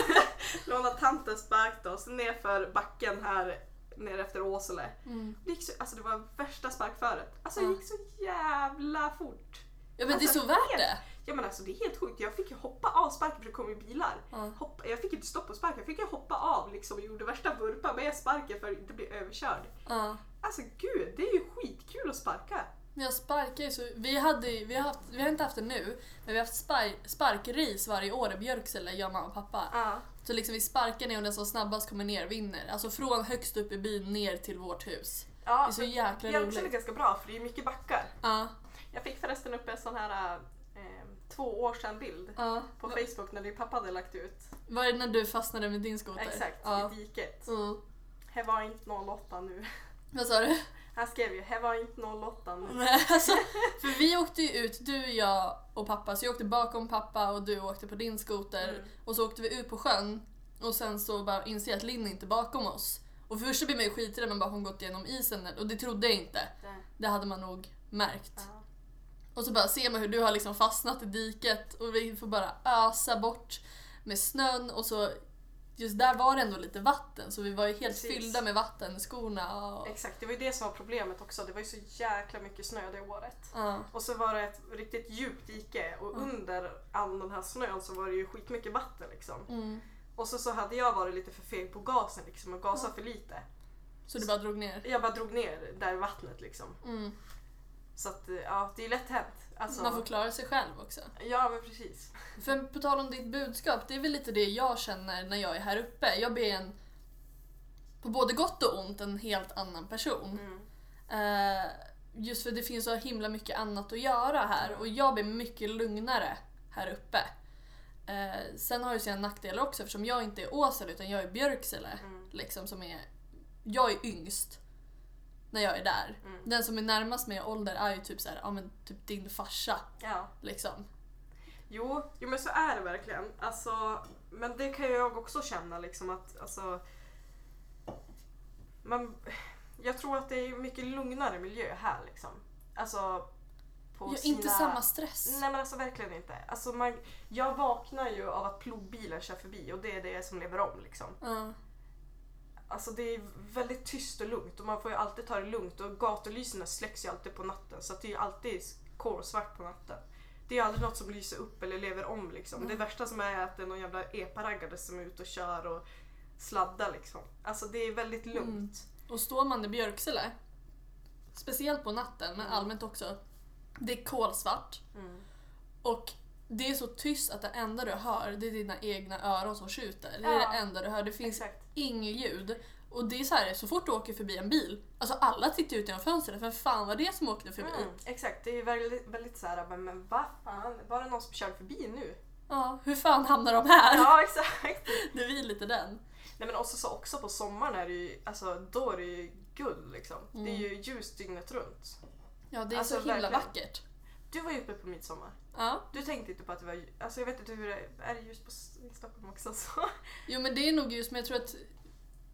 [SPEAKER 2] låna tantens spark då, så nerför backen här nere efter Åsele.
[SPEAKER 1] Mm.
[SPEAKER 2] Det gick så, alltså det var värsta sparkföret. Alltså det
[SPEAKER 1] Ja.
[SPEAKER 2] gick så jävla fort.
[SPEAKER 1] Ja men det är
[SPEAKER 2] Alltså,
[SPEAKER 1] så värt
[SPEAKER 2] helt-
[SPEAKER 1] det.
[SPEAKER 2] Ja men alltså det är helt sjukt, jag fick ju hoppa av sparken för det kom ju bilar.
[SPEAKER 1] Ja.
[SPEAKER 2] Hoppa, jag fick inte stoppa på sparken, jag fick ju hoppa av liksom och gjorde värsta vurpa med sparken för att inte bli överkörd.
[SPEAKER 1] Ja.
[SPEAKER 2] Alltså gud, det är ju skitkul att sparka.
[SPEAKER 1] Men jag sparkar ju så... Vi, hade, ju- vi, har haft, vi har inte haft det nu, men vi har haft spark, sparkrace varje år i Björksele, jag, mamma och pappa.
[SPEAKER 2] Ja.
[SPEAKER 1] Så liksom vi sparkar ner och den som snabbast kommer ner vinner. Alltså från högst upp i byn ner till vårt hus. Det är
[SPEAKER 2] Ja,
[SPEAKER 1] så jäkla
[SPEAKER 2] Björksele är
[SPEAKER 1] roligt.
[SPEAKER 2] ganska bra för det är mycket backar.
[SPEAKER 1] Ja,
[SPEAKER 2] Jag fick förresten upp en sån här eh, två år sedan bild
[SPEAKER 1] ja.
[SPEAKER 2] på Facebook när din pappa hade lagt ut.
[SPEAKER 1] Var det när du fastnade med din skoter?
[SPEAKER 2] Exakt,
[SPEAKER 1] Ja.
[SPEAKER 2] i diket.
[SPEAKER 1] Mm.
[SPEAKER 2] Här var inte 08 nu.
[SPEAKER 1] Vad sa du?
[SPEAKER 2] Han skrev ju, här var inte 08 nu.
[SPEAKER 1] Nej, alltså, för vi åkte ju ut, du, jag och pappa, så jag åkte bakom pappa och du åkte på din skoter.
[SPEAKER 2] Mm.
[SPEAKER 1] Och så åkte vi ut på sjön och sen så bara inser jag att Linn är inte bakom oss. Och för första blir man ju skiträdd men bara hon gått igenom isen och det trodde jag inte.
[SPEAKER 2] Nej.
[SPEAKER 1] Det hade man nog märkt.
[SPEAKER 2] Ja.
[SPEAKER 1] Och så bara ser man hur du har liksom fastnat i diket och vi får bara ösa bort med snön och så just där var det ändå lite vatten så vi var ju helt
[SPEAKER 2] Precis.
[SPEAKER 1] fyllda med vatten i skorna. Och,
[SPEAKER 2] Exakt, det var ju det som var problemet också. Det var ju så jäkla mycket snö det året.
[SPEAKER 1] ja,
[SPEAKER 2] Och så var det ett riktigt djupt dike och
[SPEAKER 1] Mm.
[SPEAKER 2] under all den här snön så var det ju skitmycket vatten liksom.
[SPEAKER 1] mm.
[SPEAKER 2] Och så, så hade jag varit lite för feg på gasen liksom och
[SPEAKER 1] Mm.
[SPEAKER 2] gasat för lite.
[SPEAKER 1] Så du bara drog ner.
[SPEAKER 2] Jag bara drog ner där i vattnet liksom.
[SPEAKER 1] Mm.
[SPEAKER 2] Så att ja, det är lätt hänt. Alltså,
[SPEAKER 1] Man får klara sig själv också.
[SPEAKER 2] Ja men precis.
[SPEAKER 1] För på tal om ditt budskap, det är väl lite det jag känner när jag är här uppe. Jag blir en, på både gott och ont, en helt annan person.
[SPEAKER 2] Mm.
[SPEAKER 1] Eh, just för det finns så himla mycket annat att göra här och jag blir mycket lugnare här uppe. Eh, sen har ju sina nackdelar också eftersom jag inte är Åsele utan jag är Björksele.
[SPEAKER 2] Mm.
[SPEAKER 1] Liksom, som är, jag är yngst när jag är där.
[SPEAKER 2] Mm.
[SPEAKER 1] Den som är närmast mig i ålder är ju typ, så här, ja, men typ din farsa.
[SPEAKER 2] Ja.
[SPEAKER 1] Liksom.
[SPEAKER 2] Jo, jo men så är det verkligen. Alltså, men det kan jag också känna liksom att alltså, man, Jag tror att det är mycket lugnare miljö här liksom. Alltså på
[SPEAKER 1] Jag har
[SPEAKER 2] sina...
[SPEAKER 1] inte samma stress.
[SPEAKER 2] Nej men alltså verkligen inte. Alltså, man, jag vaknar ju av att plogbilen kör förbi och det är det som lever om liksom.
[SPEAKER 1] Ja.
[SPEAKER 2] Alltså det är väldigt tyst och lugnt och man får ju alltid ta det lugnt och gatulysen släcks ju alltid på natten så att det är ju alltid kolsvart på natten. Det är ju aldrig något som lyser upp eller lever om liksom.
[SPEAKER 1] Nej.
[SPEAKER 2] Det värsta som är att det är någon jävla epa-raggare som är ute och kör och sladdar liksom. Alltså det är väldigt lugnt.
[SPEAKER 1] Mm. Och står man i Björksele, speciellt på natten men
[SPEAKER 2] Mm.
[SPEAKER 1] allmänt också, det är kolsvart
[SPEAKER 2] Mm.
[SPEAKER 1] och det är så tyst att det enda du hör det är dina egna öron som tjuter. Det är
[SPEAKER 2] Ja.
[SPEAKER 1] det enda du hör, det finns
[SPEAKER 2] Exakt.
[SPEAKER 1] inget ljud. Och det är så här, så fort du åker förbi en bil, alltså alla tittar ut genom fönstret, för fan var det som åkte förbi?
[SPEAKER 2] Mm, exakt, det är väldigt, väldigt så här, men, men vad fan, var det någon som körde förbi nu?
[SPEAKER 1] Ja, hur fan hamnar de här?
[SPEAKER 2] Ja, exakt.
[SPEAKER 1] Det blir lite den.
[SPEAKER 2] Nej men också, så, också på sommaren är det ju, alltså då är det ju guld liksom. Det är
[SPEAKER 1] Mm.
[SPEAKER 2] ju ljust dygnet runt.
[SPEAKER 1] Ja, det är
[SPEAKER 2] Alltså,
[SPEAKER 1] så himla
[SPEAKER 2] verkligen.
[SPEAKER 1] vackert.
[SPEAKER 2] Du var ju uppe på midsommar.
[SPEAKER 1] Ja.
[SPEAKER 2] Du tänkte inte på att det var ljus. Alltså jag vet inte hur det är, är det ljust på S- i Stockholm också så?
[SPEAKER 1] Jo men det är nog ljus men jag tror att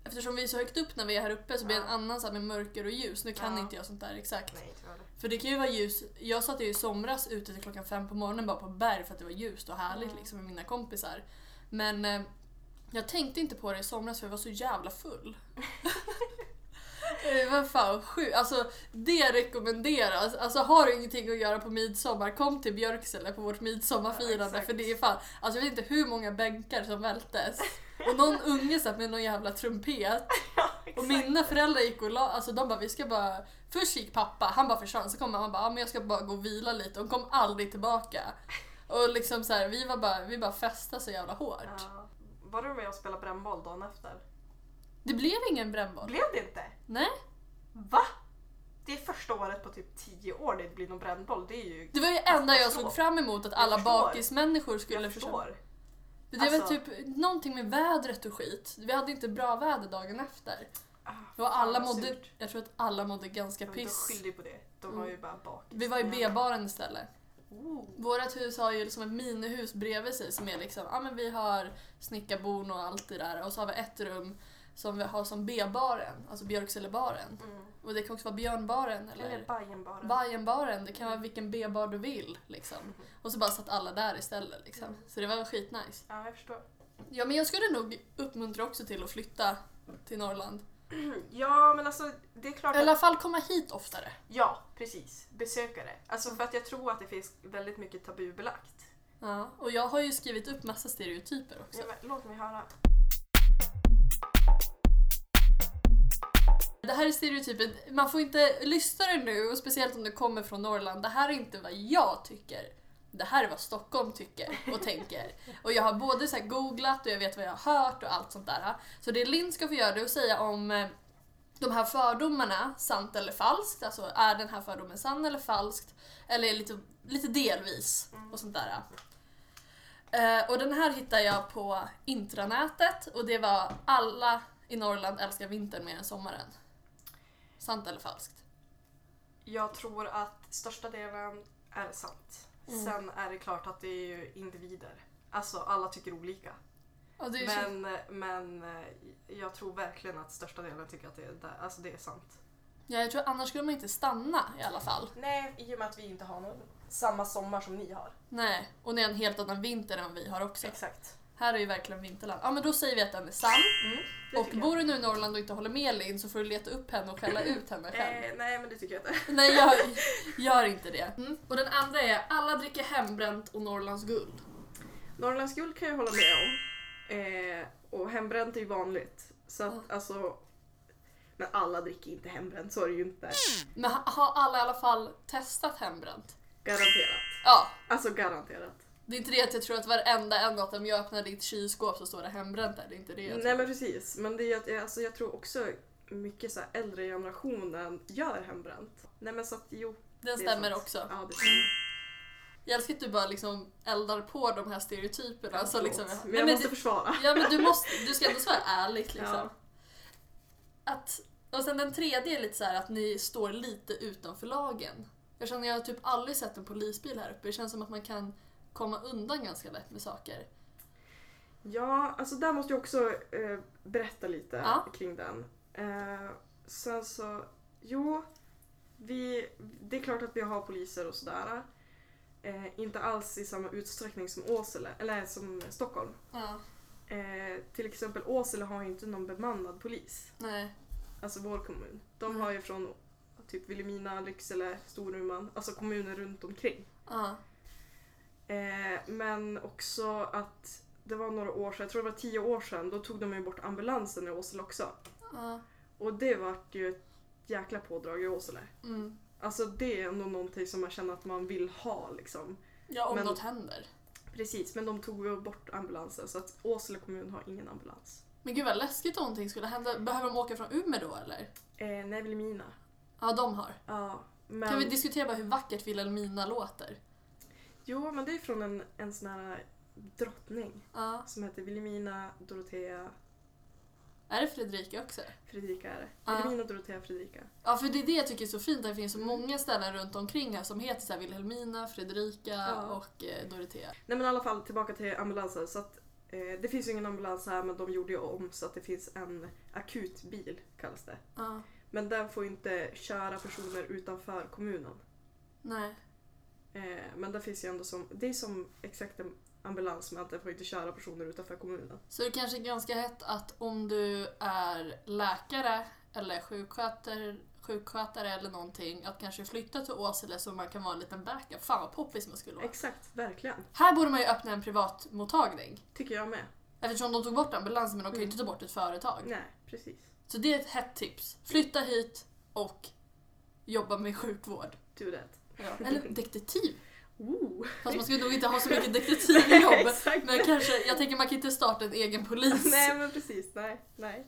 [SPEAKER 1] eftersom vi är så högt upp när vi är här uppe så blir det en
[SPEAKER 2] Ja.
[SPEAKER 1] annan så här med mörker och ljus. Nu kan
[SPEAKER 2] Ja.
[SPEAKER 1] inte jag sånt där exakt.
[SPEAKER 2] Nej, inte jag det.
[SPEAKER 1] För det kan ju vara ljus. Jag satt ju i somras ute till klockan fem på morgonen bara på berg för att det var ljust och härligt
[SPEAKER 2] Mm.
[SPEAKER 1] liksom med mina kompisar. Men eh, jag tänkte inte på det i somras för jag var så jävla full. Eh, Vad fan sjukt. Alltså det rekommenderas. Alltså har du ingenting att göra på midsommar kom till Björksele på vårt
[SPEAKER 2] Ja,
[SPEAKER 1] midsommarfirande
[SPEAKER 2] exakt.
[SPEAKER 1] för det är fan. Alltså jag vet inte hur många bänkar som vältes. Och någon unge satt med någon jävla trumpet.
[SPEAKER 2] Ja,
[SPEAKER 1] Och
[SPEAKER 2] exakt.
[SPEAKER 1] mina föräldrar gick och la, alltså de bara vi ska bara, först gick pappa, han bara försvann, så kom mamma och bara, ja men jag ska bara gå och vila lite, och kom aldrig tillbaka. Och liksom så här, vi var bara, vi bara festade så jävla hårt.
[SPEAKER 2] Ja. Var du med och spelade brännboll dagen efter?
[SPEAKER 1] Det blev ingen brännboll.
[SPEAKER 2] Blev det inte?
[SPEAKER 1] Nej.
[SPEAKER 2] Va? Det är första året på typ tio år det blir någon brännboll. Det är ju...
[SPEAKER 1] Det var ju enda jag
[SPEAKER 2] förstår.
[SPEAKER 1] såg fram emot, att alla
[SPEAKER 2] förstår.
[SPEAKER 1] bakismänniskor skulle
[SPEAKER 2] Jag
[SPEAKER 1] försvinna.
[SPEAKER 2] förstår.
[SPEAKER 1] Men Det var
[SPEAKER 2] Alltså-
[SPEAKER 1] typ någonting med vädret och skit. Vi hade inte bra väder dagen efter.
[SPEAKER 2] Ah,
[SPEAKER 1] Och alla
[SPEAKER 2] vad
[SPEAKER 1] mådde,
[SPEAKER 2] surt.
[SPEAKER 1] jag tror att alla mådde ganska
[SPEAKER 2] Men De
[SPEAKER 1] piss. Mm.
[SPEAKER 2] skyllde ju på det. De var ju bara bak.
[SPEAKER 1] Vi var i B-baren istället.
[SPEAKER 2] Oh.
[SPEAKER 1] Vårt hus har ju liksom ett minihus bredvid sig som är liksom, ja men vi har snickarbon och allt det där och så har vi ett rum som vi har som B-baren, alltså Björkselebaren.
[SPEAKER 2] Mm.
[SPEAKER 1] Och det kan också vara Björnbaren
[SPEAKER 2] Eller
[SPEAKER 1] eller
[SPEAKER 2] Bajenbaren.
[SPEAKER 1] Bajenbaren, det kan vara vilken B-bar du vill liksom. Och så bara satt alla där istället liksom. Så det var skitnice.
[SPEAKER 2] ja, jag förstår.
[SPEAKER 1] Ja men jag skulle nog uppmuntra också till att flytta till Norrland.
[SPEAKER 2] Ja, men alltså det är klart
[SPEAKER 1] Eller i
[SPEAKER 2] att...
[SPEAKER 1] alla fall komma hit oftare.
[SPEAKER 2] Ja, precis. Besökare. Alltså för att jag tror att det finns väldigt mycket tabubelagt.
[SPEAKER 1] Ja, och jag har ju skrivit upp massa stereotyper också.
[SPEAKER 2] Ja, men Låt mig höra.
[SPEAKER 1] Det här är stereotypen, man får inte lyssna det nu, och speciellt om du kommer från Norrland. Det här är inte vad jag tycker. Det här är vad Stockholm tycker och tänker. Och jag har både så här googlat och jag vet vad jag har hört och allt sånt där. Så det Linn ska få göra det är att säga om eh, de här fördomarna, sant eller falskt. Alltså är den här fördomen sann eller falskt? Eller lite, lite delvis och sånt där. Eh, Och den här hittar jag på intranätet och det var alla i Norrland älskar vintern mer än sommaren. Sant eller falskt?
[SPEAKER 2] Jag tror att största delen är sant.
[SPEAKER 1] Mm.
[SPEAKER 2] Sen är det klart att det är ju individer. Alltså alla tycker olika.
[SPEAKER 1] Ja, det är ju så-
[SPEAKER 2] Men, men eh, jag tror verkligen att största delen tycker att det är, alltså det är sant.
[SPEAKER 1] ja, jag tror annars skulle man inte stanna i alla fall.
[SPEAKER 2] Nej, i och med att vi inte har någon samma sommar som ni har.
[SPEAKER 1] Nej, och det är en helt annan vinter än vi har också.
[SPEAKER 2] Exakt.
[SPEAKER 1] Här är ju verkligen vinterland. Ja men då säger vi att den är sann.
[SPEAKER 2] Mm, det
[SPEAKER 1] Och
[SPEAKER 2] tycker
[SPEAKER 1] bor du nu i Norrland och inte håller med Linn så får du leta upp henne och skälla ut henne
[SPEAKER 2] jag.
[SPEAKER 1] själv.
[SPEAKER 2] Eh, nej, men det tycker jag inte.
[SPEAKER 1] Nej, jag gör inte det. Mm. Och den andra är alla dricker hembränt och Norrlands guld.
[SPEAKER 2] Norrlands guld kan jag hålla med om. Eh, och hembränt är ju vanligt. Så att
[SPEAKER 1] Mm.
[SPEAKER 2] alltså... Men alla dricker inte hembränt, så är det ju inte.
[SPEAKER 1] Men ha- har alla i alla fall testat hembränt?
[SPEAKER 2] Garanterat.
[SPEAKER 1] Ja.
[SPEAKER 2] Alltså garanterat.
[SPEAKER 1] Det är inte det att jag tror att varenda en att om jag öppnar ditt kylskåp så står det hembränt där. Det är inte det jag tror.
[SPEAKER 2] Nej men precis. Men det är ju att jag, alltså, jag tror också mycket så här äldre generationen gör hembränt. Nej men så att jo.
[SPEAKER 1] Den
[SPEAKER 2] det är
[SPEAKER 1] stämmer
[SPEAKER 2] sant.
[SPEAKER 1] också.
[SPEAKER 2] Ja, det stämmer.
[SPEAKER 1] Jag älskar att du bara liksom eldar på de här stereotyperna. så
[SPEAKER 2] Förlåt.
[SPEAKER 1] liksom,
[SPEAKER 2] men
[SPEAKER 1] Nej,
[SPEAKER 2] jag
[SPEAKER 1] men
[SPEAKER 2] måste
[SPEAKER 1] du,
[SPEAKER 2] försvara.
[SPEAKER 1] ja men du, måste, du ska ändå svara ärligt liksom.
[SPEAKER 2] Ja.
[SPEAKER 1] Att, och sen den tredje är lite så här att ni står lite utanför lagen. Jag känner jag har typ aldrig sett en polisbil här uppe. Det känns som att man kan komma undan ganska lätt med saker.
[SPEAKER 2] Ja, alltså där måste jag också eh, berätta lite
[SPEAKER 1] Ja.
[SPEAKER 2] kring den. Eh, sen så, jo, vi, det är klart att vi har poliser och sådär. Eh, inte alls i samma utsträckning som Åsele, eller som Stockholm.
[SPEAKER 1] Ja,
[SPEAKER 2] Eh, till exempel Åsele har ju inte någon bemannad polis,
[SPEAKER 1] nej.
[SPEAKER 2] alltså vår kommun. De
[SPEAKER 1] Mm.
[SPEAKER 2] har ju från typ Vilhelmina, Lycksele, Storuman, alltså kommuner runt omkring.
[SPEAKER 1] Ja.
[SPEAKER 2] Eh, men också att det var några år sedan, jag tror det var tio år sedan, då tog de ju bort ambulansen i Åsele också.
[SPEAKER 1] Ja.
[SPEAKER 2] Och det vart ju ett jäkla pådrag i Åsele.
[SPEAKER 1] Mm.
[SPEAKER 2] Alltså det är ändå någonting som man känner att man vill ha liksom.
[SPEAKER 1] ja, om
[SPEAKER 2] Men-
[SPEAKER 1] något händer.
[SPEAKER 2] Precis, men de tog ju bort ambulansen så att Åsele kommun har ingen ambulans.
[SPEAKER 1] Men gud vad läskigt om någonting skulle hända. Behöver de åka från Umeå då eller?
[SPEAKER 2] Eh, nej, Vilhelmina.
[SPEAKER 1] Ja, de har.
[SPEAKER 2] Ja, men...
[SPEAKER 1] Kan vi diskutera bara hur vackert Vilhelmina låter?
[SPEAKER 2] Jo, men det är från en, en sån här drottning
[SPEAKER 1] Ja.
[SPEAKER 2] som heter Vilhelmina Dorotea
[SPEAKER 1] Är det Fredrika också?
[SPEAKER 2] Fredrika är det.
[SPEAKER 1] Ja.
[SPEAKER 2] Vilhelmina Dorotea Fredrika.
[SPEAKER 1] Ja, för det är det jag tycker är så fint. att Det finns så många ställen runt omkring här som heter så här Vilhelmina, Fredrika
[SPEAKER 2] Ja.
[SPEAKER 1] och eh, Dorotea.
[SPEAKER 2] Nej men i alla fall tillbaka till ambulansen. Så att, eh, det finns ju ingen ambulans här men de gjorde ju om så att det finns en akutbil kallas det.
[SPEAKER 1] Ja.
[SPEAKER 2] Men den får ju inte köra personer utanför kommunen.
[SPEAKER 1] Nej.
[SPEAKER 2] Eh, men det finns ju ändå som, det är som exakt en ambulans men att den får inte köra personer utanför kommunen.
[SPEAKER 1] Så det kanske är ganska hett att om du är läkare eller sjuksköter, sjukskötare eller någonting att kanske flytta till Åsele så man kan vara en liten backup. Fan vad poppis man skulle vara.
[SPEAKER 2] Exakt, verkligen.
[SPEAKER 1] Här borde man ju öppna en privatmottagning.
[SPEAKER 2] Tycker jag med.
[SPEAKER 1] Eftersom de tog bort ambulansen men de kan ju inte ta bort ett företag.
[SPEAKER 2] Nej, precis.
[SPEAKER 1] Så det är ett hett tips. Flytta hit och jobba med sjukvård.
[SPEAKER 2] Do that.
[SPEAKER 1] Ja. Eller detektiv.
[SPEAKER 2] Ooh.
[SPEAKER 1] Fast man skulle nog inte ha så mycket detektivjobb.
[SPEAKER 2] Exakt.
[SPEAKER 1] Men kanske, jag tänker man kan inte starta en egen polis.
[SPEAKER 2] Nej men precis, nej, nej.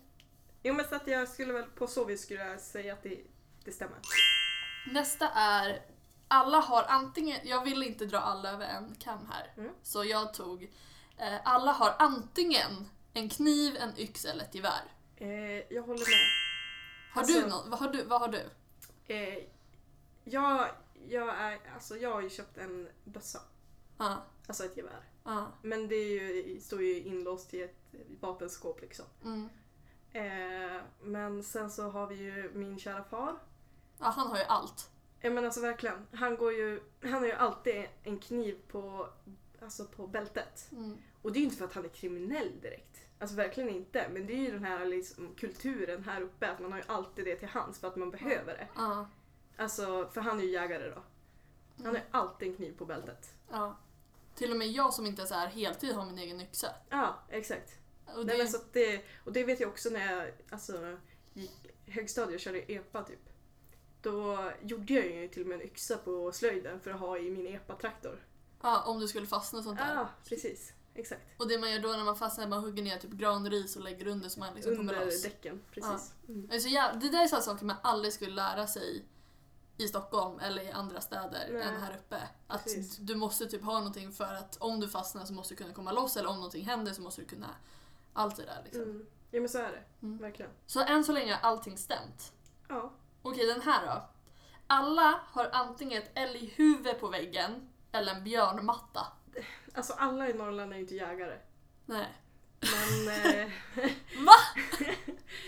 [SPEAKER 2] Jo men så att jag skulle väl, på så vis skulle jag säga att det, det stämmer.
[SPEAKER 1] Nästa är, alla har antingen, jag vill inte dra alla över en kam här.
[SPEAKER 2] Mm.
[SPEAKER 1] Så jag tog, eh, alla har antingen en kniv, en yx eller ett gevär.
[SPEAKER 2] Eh, jag håller med.
[SPEAKER 1] Har
[SPEAKER 2] Alltså-
[SPEAKER 1] du något? Vad har du? Vad har du?
[SPEAKER 2] Eh, jag, jag, är, alltså jag har ju köpt en bössa,
[SPEAKER 1] Ja,
[SPEAKER 2] alltså ett gevär.
[SPEAKER 1] ja,
[SPEAKER 2] Men det är ju, står ju inlåst i ett vapenskåp liksom.
[SPEAKER 1] mm.
[SPEAKER 2] Eh, men sen så har vi ju min kära far.
[SPEAKER 1] ja, han har ju allt.
[SPEAKER 2] Eh, men alltså verkligen, han går ju, han har ju alltid en kniv på, alltså på bältet.
[SPEAKER 1] Mm.
[SPEAKER 2] Och det är ju inte för att han är kriminell direkt. Alltså verkligen inte. Men det är ju den här liksom, kulturen här uppe att man har ju alltid det till hands för att man behöver det.
[SPEAKER 1] Ja,
[SPEAKER 2] Alltså, för han är ju jägare då. Han har ju alltid en kniv på bältet.
[SPEAKER 1] ja. Till och med jag som inte är så här heltid har min egen yxa.
[SPEAKER 2] Ja, exakt.
[SPEAKER 1] Och det,
[SPEAKER 2] Nej, men så att det, och det vet jag också när jag alltså, gick högstadiet och körde epa typ. Då gjorde jag ju till och med en yxa på slöjden för att ha i min epa-traktor.
[SPEAKER 1] ja, om du skulle fastna och sånt där.
[SPEAKER 2] Ja, precis. Exakt.
[SPEAKER 1] Och det man gör då när man fastnar är att man hugger ner typ granris och lägger under så man liksom kommer
[SPEAKER 2] Under
[SPEAKER 1] loss.
[SPEAKER 2] däcken, precis. Mm.
[SPEAKER 1] Alltså, ja, det där är sådana saker man aldrig skulle lära sig i Stockholm eller i andra städer
[SPEAKER 2] Nej.
[SPEAKER 1] än här uppe. Att
[SPEAKER 2] Precis.
[SPEAKER 1] du måste typ ha någonting för att om du fastnar så måste du kunna komma loss eller om någonting händer så måste du kunna allt det där liksom.
[SPEAKER 2] Mm. Ja men så är det.
[SPEAKER 1] Mm.
[SPEAKER 2] Verkligen.
[SPEAKER 1] Så än så länge har allting stämt.
[SPEAKER 2] Ja.
[SPEAKER 1] Okej, den här då. Alla har antingen ett älghuvud på väggen eller en björnmatta.
[SPEAKER 2] Alltså alla i Norrland är ju inte jägare.
[SPEAKER 1] Nej.
[SPEAKER 2] Men... eh,
[SPEAKER 1] Va?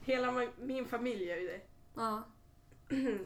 [SPEAKER 2] Hela ma- min familj är ju det.
[SPEAKER 1] Ja.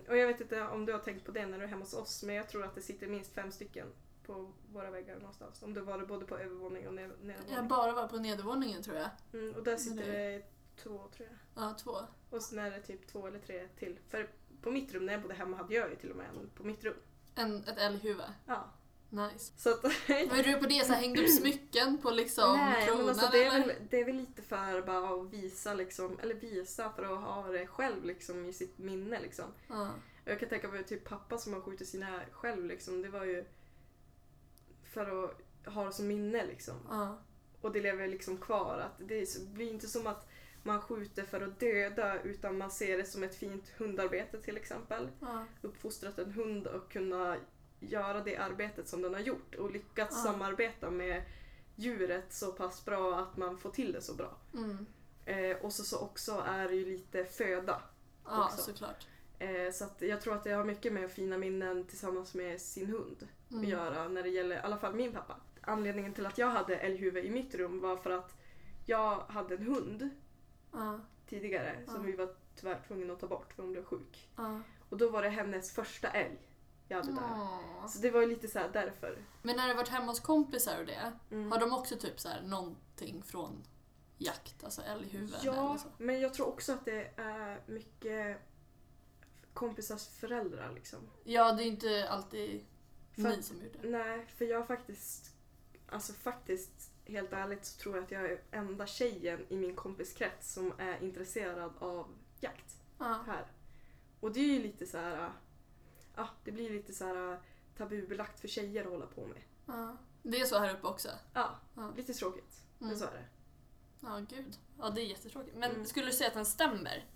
[SPEAKER 2] Och jag vet inte om du har tänkt på det när du är hemma hos oss, men jag tror att det sitter minst fem stycken på våra väggar någonstans. Om det var det både på övervåning och ner-
[SPEAKER 1] Jag har
[SPEAKER 2] nedervåning.
[SPEAKER 1] bara varit på nedervåningen tror jag.
[SPEAKER 2] Mm, och där sitter
[SPEAKER 1] Det-
[SPEAKER 2] det två, tror jag.
[SPEAKER 1] Ja, två.
[SPEAKER 2] Och sen är det typ två eller tre till. För på mitt rum, när jag bodde hemma, hade jag ju till och med en på mitt rum.
[SPEAKER 1] En, ett älghuvud.
[SPEAKER 2] Ja.
[SPEAKER 1] Nice.
[SPEAKER 2] Så att...
[SPEAKER 1] Var du på det så här, hängde upp smycken på liksom
[SPEAKER 2] Nej,
[SPEAKER 1] kronan
[SPEAKER 2] men alltså det är,
[SPEAKER 1] eller?
[SPEAKER 2] väl, det är väl lite för bara att visa liksom, eller visa för att ha det själv liksom i sitt minne liksom.
[SPEAKER 1] Ja.
[SPEAKER 2] Jag kan tänka mig typ pappa som har skjutit sina själv liksom. Det var ju för att ha det som minne liksom.
[SPEAKER 1] Ja.
[SPEAKER 2] Och det lever liksom kvar. Att det är så- blir inte som att man skjuter för att döda utan man ser det som ett fint hundarbete till exempel.
[SPEAKER 1] Ja.
[SPEAKER 2] Uppfostrat en hund och kunna göra det arbetet som den har gjort och lyckats
[SPEAKER 1] Ja.
[SPEAKER 2] samarbeta med djuret så pass bra att man får till det så bra.
[SPEAKER 1] Mm.
[SPEAKER 2] Eh, och så, så också är det ju lite föda.
[SPEAKER 1] ja,
[SPEAKER 2] Också.
[SPEAKER 1] såklart.
[SPEAKER 2] Eh, så att jag tror att det har mycket med fina minnen tillsammans med sin hund
[SPEAKER 1] Mm.
[SPEAKER 2] att göra när det gäller i alla fall min pappa. Anledningen till att jag hade älghuvud i mitt rum var för att jag hade en hund
[SPEAKER 1] Ja,
[SPEAKER 2] tidigare som
[SPEAKER 1] Ja.
[SPEAKER 2] vi var tyvärr tvungna att ta bort för hon blev sjuk.
[SPEAKER 1] ja.
[SPEAKER 2] Och då var det hennes första älg jag hade där.
[SPEAKER 1] Åh.
[SPEAKER 2] Så det var ju lite så här därför.
[SPEAKER 1] Men när du har varit hemma hos kompisar och det,
[SPEAKER 2] Mm.
[SPEAKER 1] har de också typ så här någonting från jakt, alltså älghuvuden eller
[SPEAKER 2] Ja,
[SPEAKER 1] så?
[SPEAKER 2] men jag tror också att det är mycket kompisars föräldrar liksom.
[SPEAKER 1] Ja, det är inte alltid
[SPEAKER 2] För-
[SPEAKER 1] Ni som gjorde det.
[SPEAKER 2] Nej, för jag faktiskt, alltså faktiskt helt ärligt så tror jag att jag är enda tjejen i min kompiskrets som är intresserad av jakt
[SPEAKER 1] Ja.
[SPEAKER 2] här. Och det är ju lite så här, ja det blir lite så här tabubelagt för tjejer att hålla på med.
[SPEAKER 1] ja. Det är så här uppe också.
[SPEAKER 2] Ja,
[SPEAKER 1] Ja.
[SPEAKER 2] lite tråkigt.
[SPEAKER 1] Mm.
[SPEAKER 2] Men så är det.
[SPEAKER 1] Ja, gud. Ja, det är jättetråkigt. Men
[SPEAKER 2] Mm.
[SPEAKER 1] skulle du säga att den stämmer?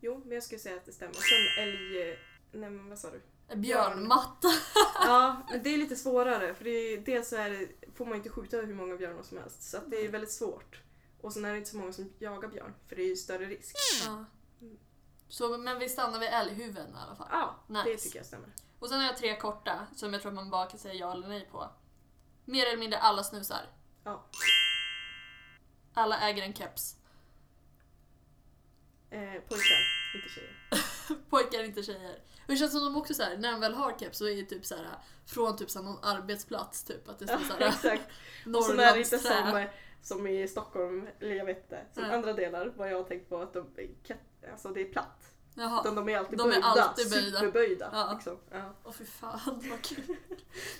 [SPEAKER 2] Jo, men jag skulle säga att det stämmer. Sen älg... eh, Nej men vad sa du?
[SPEAKER 1] Björnmatta.
[SPEAKER 2] Ja, men det är lite svårare för det är, dels så är det, får man inte skjuta hur många björnar som helst så att det
[SPEAKER 1] Mm.
[SPEAKER 2] är väldigt svårt. Och sen är det inte så många som jagar björn för det är ju större risk.
[SPEAKER 1] Ja. Så, men vi stannar vid älghuvuden i alla fall.
[SPEAKER 2] Ja, det
[SPEAKER 1] Nice.
[SPEAKER 2] tycker jag stämmer.
[SPEAKER 1] Och sen har jag tre korta som jag tror man bara kan säga ja eller nej på. Mer eller mindre alla snusar.
[SPEAKER 2] Ja.
[SPEAKER 1] Alla äger en keps.
[SPEAKER 2] Eh, pojkar, inte tjejer.
[SPEAKER 1] Pojkar, inte tjejer. Och det känns som de också så här, när de väl har keps så är det typ så här från typ så här någon arbetsplats typ. Att det står
[SPEAKER 2] Ja,
[SPEAKER 1] såhär
[SPEAKER 2] exakt. Och sen är det inte
[SPEAKER 1] Norrlandsträ.
[SPEAKER 2] som, eh, som i Stockholm, eller jag vet inte, som
[SPEAKER 1] Nej.
[SPEAKER 2] andra delar vad jag har tänkt på att de, kat- alltså det är platt.
[SPEAKER 1] Jaha.
[SPEAKER 2] Utan de är alltid
[SPEAKER 1] De är
[SPEAKER 2] böjda,
[SPEAKER 1] alltid böjda.
[SPEAKER 2] superböjda.
[SPEAKER 1] Ja.
[SPEAKER 2] Liksom. Ja.
[SPEAKER 1] Åh fy fan vad kul.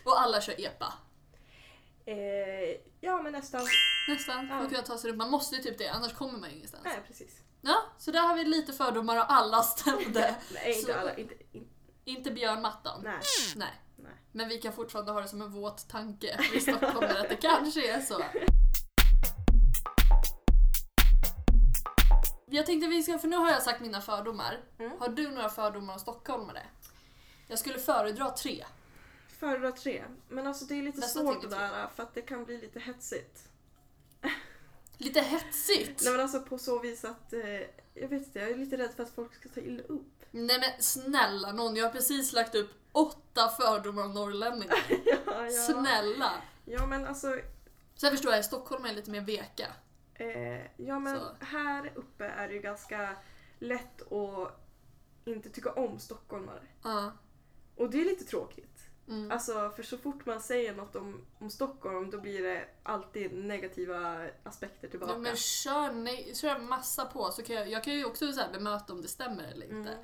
[SPEAKER 1] Och alla kör epa.
[SPEAKER 2] Eh, ja men nästan.
[SPEAKER 1] Nästan. För
[SPEAKER 2] Ja.
[SPEAKER 1] att kunna ta sig runt. Man måste ju typ det annars kommer man ingenstans.
[SPEAKER 2] Nej precis.
[SPEAKER 1] Ja, så där har vi lite fördomar och alla stämde.
[SPEAKER 2] Nej inte
[SPEAKER 1] Så-
[SPEAKER 2] alla, inte, inte,
[SPEAKER 1] Inte björnmattan.
[SPEAKER 2] nej.
[SPEAKER 1] Nej.
[SPEAKER 2] Mm. Nej.
[SPEAKER 1] Men vi kan fortfarande ha det som en våt tanke vi stockholmare att det kanske är så. Jag tänkte vi ska, för nu har jag sagt mina fördomar.
[SPEAKER 2] Mm.
[SPEAKER 1] Har du några fördomar om stockholmare? Jag skulle föredra tre.
[SPEAKER 2] Föredra tre. Men alltså det är lite
[SPEAKER 1] Nästa
[SPEAKER 2] svårt
[SPEAKER 1] tycker
[SPEAKER 2] det där för att det kan bli lite hetsigt.
[SPEAKER 1] Lite hetsigt!
[SPEAKER 2] Nej men alltså på så vis att, eh, jag vet inte, jag är lite rädd för att folk ska ta illa upp.
[SPEAKER 1] Nej men snälla någon, jag har precis lagt upp åtta fördomar om norrlänningar.
[SPEAKER 2] ja,
[SPEAKER 1] Snälla!
[SPEAKER 2] ja men alltså,
[SPEAKER 1] Sen förstår jag, Stockholm är lite mer veka.
[SPEAKER 2] eh, ja men
[SPEAKER 1] Så.
[SPEAKER 2] här uppe är det ju ganska lätt att inte tycka om stockholmare.
[SPEAKER 1] Ja.
[SPEAKER 2] Och det är lite tråkigt.
[SPEAKER 1] Mm.
[SPEAKER 2] Alltså för så fort man säger något om, om Stockholm då blir det alltid negativa aspekter tillbaka.
[SPEAKER 1] Ja, men kör, nej, kör massa på så kan jag, jag kan ju också så här bemöta om det stämmer eller inte.
[SPEAKER 2] Mm.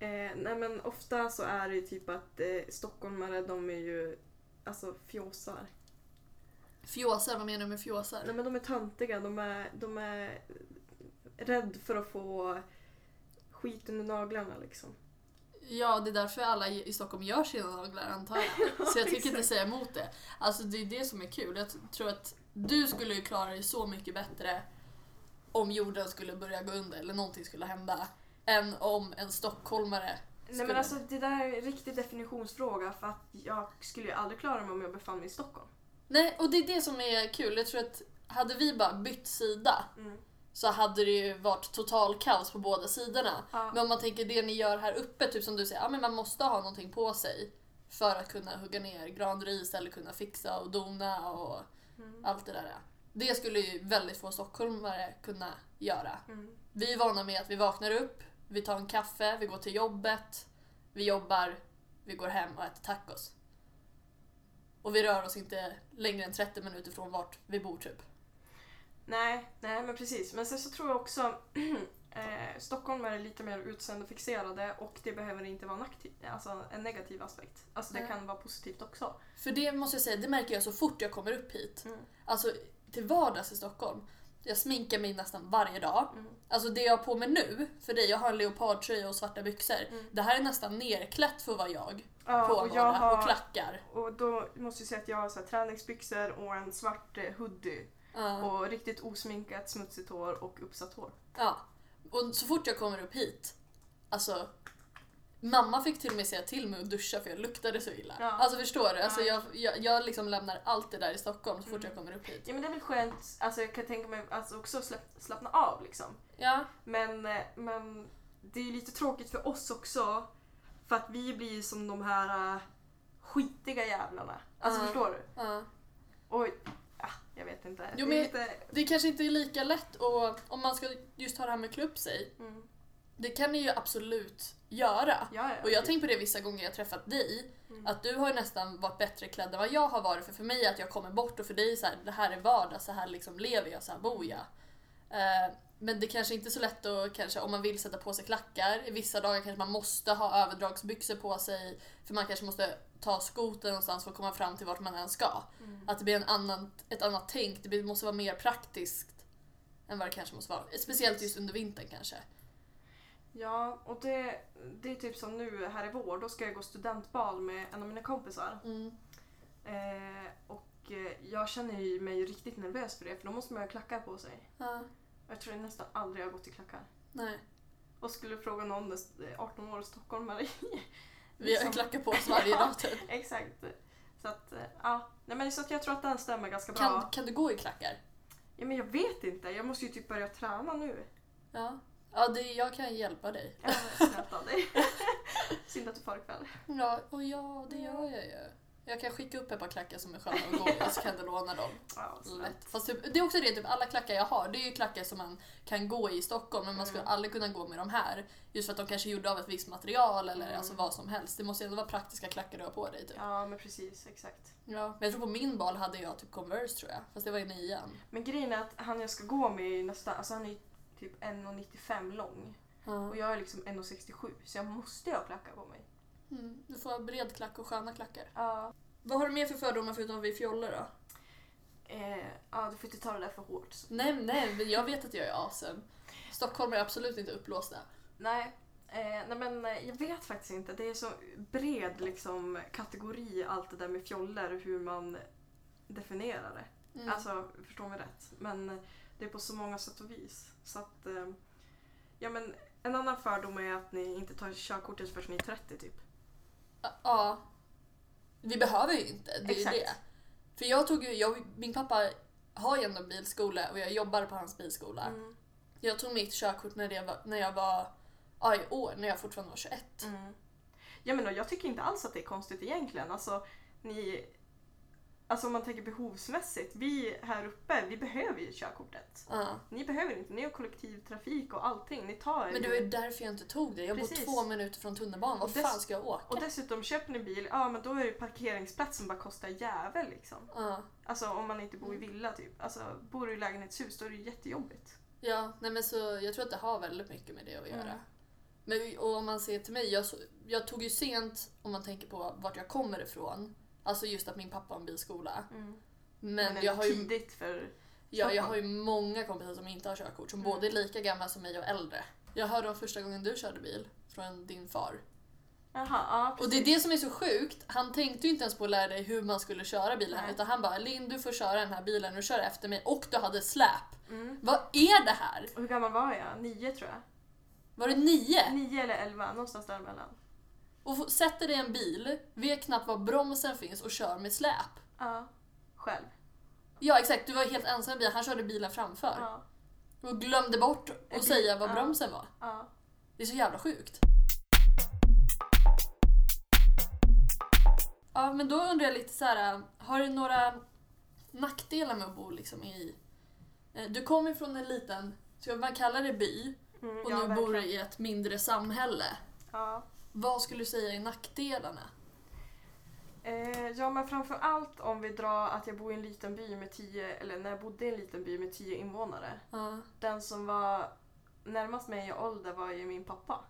[SPEAKER 2] Eh, nej men ofta så är det ju typ att eh, stockholmare de är ju alltså fjåsar.
[SPEAKER 1] Fjåsar, vad menar du med fjåsar?
[SPEAKER 2] Nej men de är töntiga, de är, de är rädd för att få skit under naglarna liksom.
[SPEAKER 1] Ja, det är därför alla i i Stockholm gör sina naglar antar jag. Så jag tänker inte
[SPEAKER 2] exakt.
[SPEAKER 1] säga emot det. Alltså det är det som är kul. Jag t- tror att du skulle ju klara dig så mycket bättre om jorden skulle börja gå under eller någonting skulle hända än om en stockholmare
[SPEAKER 2] Nej
[SPEAKER 1] Skulle-
[SPEAKER 2] men alltså det där är en riktig definitionsfråga för att jag skulle ju aldrig klara mig om jag befann mig i Stockholm.
[SPEAKER 1] Nej, och det är det som är kul. Jag tror att hade vi bara bytt sida
[SPEAKER 2] Mm.
[SPEAKER 1] så hade det ju varit total kaos på båda sidorna.
[SPEAKER 2] Ja.
[SPEAKER 1] Men om man tänker det ni gör här uppe, typ som du säger, ja, men man måste ha någonting på sig för att kunna hugga ner granris eller kunna fixa och dona och
[SPEAKER 2] Mm.
[SPEAKER 1] allt det där. Det skulle ju väldigt få stockholmare kunna göra.
[SPEAKER 2] Mm.
[SPEAKER 1] Vi är vana med att vi vaknar upp, vi tar en kaffe, vi går till jobbet, vi jobbar, vi går hem och äter tacos. Och vi rör oss inte längre än 30 minuter från vart vi bor typ.
[SPEAKER 2] Nej, nej men precis. Men sen så tror jag också eh, Stockholm är lite mer utseendefixerade och det behöver inte vara en, aktiv, alltså en negativ aspekt. Alltså det
[SPEAKER 1] Nej.
[SPEAKER 2] kan vara positivt också.
[SPEAKER 1] För det måste jag säga, det märker jag så fort jag kommer upp hit.
[SPEAKER 2] Mm.
[SPEAKER 1] Alltså till vardags i Stockholm. Jag sminkar mig nästan varje dag.
[SPEAKER 2] Mm.
[SPEAKER 1] Alltså det jag har på mig nu, för dig, jag har en leopardtröja och svarta byxor.
[SPEAKER 2] Mm.
[SPEAKER 1] Det här är nästan nerklätt för att vara jag. På
[SPEAKER 2] Ja, och
[SPEAKER 1] och,
[SPEAKER 2] jag
[SPEAKER 1] och
[SPEAKER 2] har,
[SPEAKER 1] klackar.
[SPEAKER 2] och då måste jag säga att jag har så här, träningsbyxor och en svart eh, hoodie
[SPEAKER 1] Ja.
[SPEAKER 2] och riktigt osminkat, smutsigt hår och uppsatt hår.
[SPEAKER 1] Ja. Och så fort jag kommer upp hit, alltså Mamma fick till och med säga till mig att duscha för jag luktade så illa.
[SPEAKER 2] Ja.
[SPEAKER 1] Alltså förstår du? Alltså
[SPEAKER 2] Ja. Mm.
[SPEAKER 1] jag, jag, jag liksom lämnar allt det där i Stockholm så fort jag kommer upp hit.
[SPEAKER 2] Ja men det är väl skönt, alltså jag kan tänka mig alltså, också slapp, slappna av liksom.
[SPEAKER 1] Ja,
[SPEAKER 2] Men, eh, men det är lite tråkigt för oss också. För att vi blir som de här äh, skitiga jävlarna. Alltså
[SPEAKER 1] Ja.
[SPEAKER 2] förstår du?
[SPEAKER 1] ja.
[SPEAKER 2] Och ja, jag vet inte.
[SPEAKER 1] Jo,
[SPEAKER 2] det är
[SPEAKER 1] men-
[SPEAKER 2] lite...
[SPEAKER 1] Det kanske inte är lika lätt och om man ska just ha det här med klubb sig,
[SPEAKER 2] Mm.
[SPEAKER 1] det kan ni ju absolut göra.
[SPEAKER 2] Ja, ja.
[SPEAKER 1] Och jag har tänkt på det vissa gånger jag träffat dig,
[SPEAKER 2] Mm.
[SPEAKER 1] att du har ju nästan varit bättre klädd än vad jag har varit. För för mig är att jag kommer bort och för dig är så här, det här är vardag, så här liksom lever jag, så här bor jag. Eh, Men det kanske inte är så lätt att kanske, om man vill sätta på sig klackar. I vissa dagar kanske man måste ha överdragsbyxor på sig för man kanske måste ta skotern någonstans för att komma fram till vart man än ska.
[SPEAKER 2] Mm.
[SPEAKER 1] Att det blir en annan, ett annat tänk, det blir- måste vara mer praktiskt än vad det kanske måste vara. Speciellt just under vintern kanske.
[SPEAKER 2] Ja, och det, det är typ som nu här i vår. Då ska jag gå studentbal med en av mina kompisar.
[SPEAKER 1] Mm.
[SPEAKER 2] Eh, och eh, jag känner ju mig riktigt nervös för det för då måste man ju ha klackar på sig.
[SPEAKER 1] Ja,
[SPEAKER 2] Jag tror nästan aldrig jag har gått i klackar.
[SPEAKER 1] nej.
[SPEAKER 2] Och skulle fråga någon, eh, 18 år stockholmare.
[SPEAKER 1] Vi har ju
[SPEAKER 2] Liksom.
[SPEAKER 1] klackar på oss varje dag typ.
[SPEAKER 2] Exakt. Så att, eh, ja. Nej, men så att jag tror att den stämmer ganska bra.
[SPEAKER 1] Kan, kan du gå i klackar?
[SPEAKER 2] Ja, men jag vet inte, jag måste ju typ börja träna nu.
[SPEAKER 1] Ja. Ja, det, jag kan hjälpa dig.
[SPEAKER 2] Ja, men Snällt av dig. Synd att du far ikväll.
[SPEAKER 1] Ja, och ja, det gör jag ju. Jag kan skicka upp ett par klackar som är sköna att gå i och så kan du låna dem.
[SPEAKER 2] Ja, vad snällt.
[SPEAKER 1] Lätt. Fast typ, det är också det, typ alla klackar jag har, det är ju klackar som man kan gå i i Stockholm men man skulle
[SPEAKER 2] Mm.
[SPEAKER 1] aldrig kunna gå med de här. Just för att de kanske är gjorda av ett visst material eller
[SPEAKER 2] Mm.
[SPEAKER 1] alltså vad som helst. Det måste ju ändå vara praktiska klackar du har på dig. Typ. Ja.
[SPEAKER 2] Ja, men precis. Exakt.
[SPEAKER 1] Men jag tror på min bal hade jag typ Converse tror jag, fast det var i nian.
[SPEAKER 2] Men grejen är att han jag ska gå med är ju nästan, alltså han är ju typ 1,95 lång.
[SPEAKER 1] Ja.
[SPEAKER 2] Och jag är liksom 1,67 så jag måste ju ha klackar på mig.
[SPEAKER 1] Mm. Du får ha bred klack och sköna klackar.
[SPEAKER 2] Ja.
[SPEAKER 1] Vad har du mer för fördomar förutom vi fjollor då?
[SPEAKER 2] Eh, ja, du får inte ta det där för hårt. Så.
[SPEAKER 1] Nej, nej, men jag vet att jag är asen. Stockholm är absolut inte uppblåsta.
[SPEAKER 2] Nej. Eh, nej men eh, jag vet faktiskt inte. Det är så bred liksom kategori allt det där med fjoller och hur man definierar det.
[SPEAKER 1] Mm.
[SPEAKER 2] Alltså, förstå mig rätt. Men eh, det är på så många sätt och vis. Så att, eh, ja, men en annan fördom är att ni inte tar körkortet förrän ni är 30 typ.
[SPEAKER 1] Ja. Vi behöver ju inte, det är
[SPEAKER 2] Exakt.
[SPEAKER 1] ju det. För jag tog ju, jag, min pappa har ju ändå bilskola och jag jobbar på hans bilskola.
[SPEAKER 2] Mm.
[SPEAKER 1] Jag tog mitt körkort när, det var, när jag var, ja i år, när jag fortfarande var 21.
[SPEAKER 2] Mm. Ja, men, och jag tycker inte alls att det är konstigt egentligen. Alltså, ni, alltså om man tänker behovsmässigt. Vi här uppe, vi behöver ju körkortet.
[SPEAKER 1] Ja.
[SPEAKER 2] Ni behöver inte, ni har kollektivtrafik och allting. Ni tar er
[SPEAKER 1] Men det
[SPEAKER 2] ju-
[SPEAKER 1] var ju därför jag inte tog det. Jag bor
[SPEAKER 2] Precis.
[SPEAKER 1] två minuter från tunnelbanan, vad
[SPEAKER 2] Och dess-
[SPEAKER 1] fan ska jag åka?
[SPEAKER 2] Och dessutom köper ni bil, ja men då är det ju parkeringsplatsen bara kostar jävel liksom.
[SPEAKER 1] Ja.
[SPEAKER 2] Alltså om man inte
[SPEAKER 1] Mm.
[SPEAKER 2] bor i villa typ. Alltså bor du i lägenhetshus då är det ju jättejobbigt.
[SPEAKER 1] Ja, nej men så jag tror att det har väldigt mycket med det att
[SPEAKER 2] Mm.
[SPEAKER 1] göra. Men och om man ser till mig, jag, så- jag tog ju sent om man tänker på vart jag kommer ifrån. Alltså just att min pappa har en bilskola. Mm. Men,
[SPEAKER 2] Men typ
[SPEAKER 1] jag,
[SPEAKER 2] jag
[SPEAKER 1] har ju,
[SPEAKER 2] tidigt för...
[SPEAKER 1] ja, jag
[SPEAKER 2] Stockholm.
[SPEAKER 1] har ju många kompisar som inte har körkort som
[SPEAKER 2] Mm.
[SPEAKER 1] både är lika gamla som mig och äldre. Jag hörde om första gången du körde bil från din far.
[SPEAKER 2] Jaha, ja
[SPEAKER 1] Och det är det som är så sjukt. Han tänkte ju inte ens på att lära dig hur man skulle köra bilen
[SPEAKER 2] Nej.
[SPEAKER 1] utan han bara Linn du får köra den här bilen, du kör efter mig och du hade släp.
[SPEAKER 2] Mm.
[SPEAKER 1] Vad är det här?
[SPEAKER 2] Och hur gammal var jag? Nio tror jag.
[SPEAKER 1] Var det nio?
[SPEAKER 2] Nio eller elva, någonstans däremellan.
[SPEAKER 1] och få- sätter dig i en bil, vet knappt var bromsen finns och kör med släp.
[SPEAKER 2] Ja. Själv.
[SPEAKER 1] Ja exakt, du var helt ensam i bilen, han körde bilen framför.
[SPEAKER 2] Ja.
[SPEAKER 1] Och glömde bort
[SPEAKER 2] bil-
[SPEAKER 1] att säga var
[SPEAKER 2] ja.
[SPEAKER 1] bromsen var.
[SPEAKER 2] ja.
[SPEAKER 1] Det är så jävla sjukt. Ja men då undrar jag lite så här. äh, har du några nackdelar med att bo liksom i... eh, Du kommer från en liten, ska man kalla det by,
[SPEAKER 2] Mm,
[SPEAKER 1] och
[SPEAKER 2] ja,
[SPEAKER 1] nu bor du
[SPEAKER 2] verkligen.
[SPEAKER 1] i ett mindre samhälle.
[SPEAKER 2] Ja.
[SPEAKER 1] Vad skulle du säga är nackdelarna?
[SPEAKER 2] Eh, ja men framför allt om vi drar att jag bor i en liten by med tio, eller när jag bodde i en liten by med tio invånare.
[SPEAKER 1] Ja,
[SPEAKER 2] Den som var närmast mig i ålder var ju min pappa.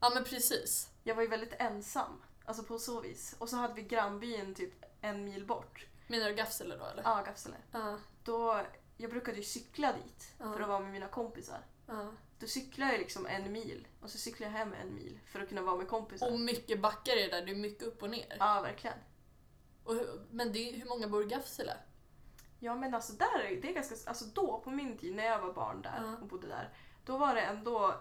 [SPEAKER 1] ja men precis.
[SPEAKER 2] Jag var ju väldigt ensam. Alltså på så vis. Och så hade vi grannbyn typ en mil bort.
[SPEAKER 1] Menar du Gafsele då eller?
[SPEAKER 2] Ja, Gafsele.
[SPEAKER 1] Ja.
[SPEAKER 2] Då, jag brukade ju cykla dit
[SPEAKER 1] Ja.
[SPEAKER 2] för att vara med mina kompisar.
[SPEAKER 1] ja.
[SPEAKER 2] Då cyklade jag liksom en mil och så cyklade jag hem en mil för att kunna vara med kompisar.
[SPEAKER 1] Och mycket backar är det där, det är mycket upp och ner.
[SPEAKER 2] Ja, verkligen.
[SPEAKER 1] Och hur, men det är, hur många bor i Gafsele?
[SPEAKER 2] Ja, men alltså där, är- det är ganska, alltså då på min tid när jag var barn där
[SPEAKER 1] Ja.
[SPEAKER 2] och bodde där, då var det ändå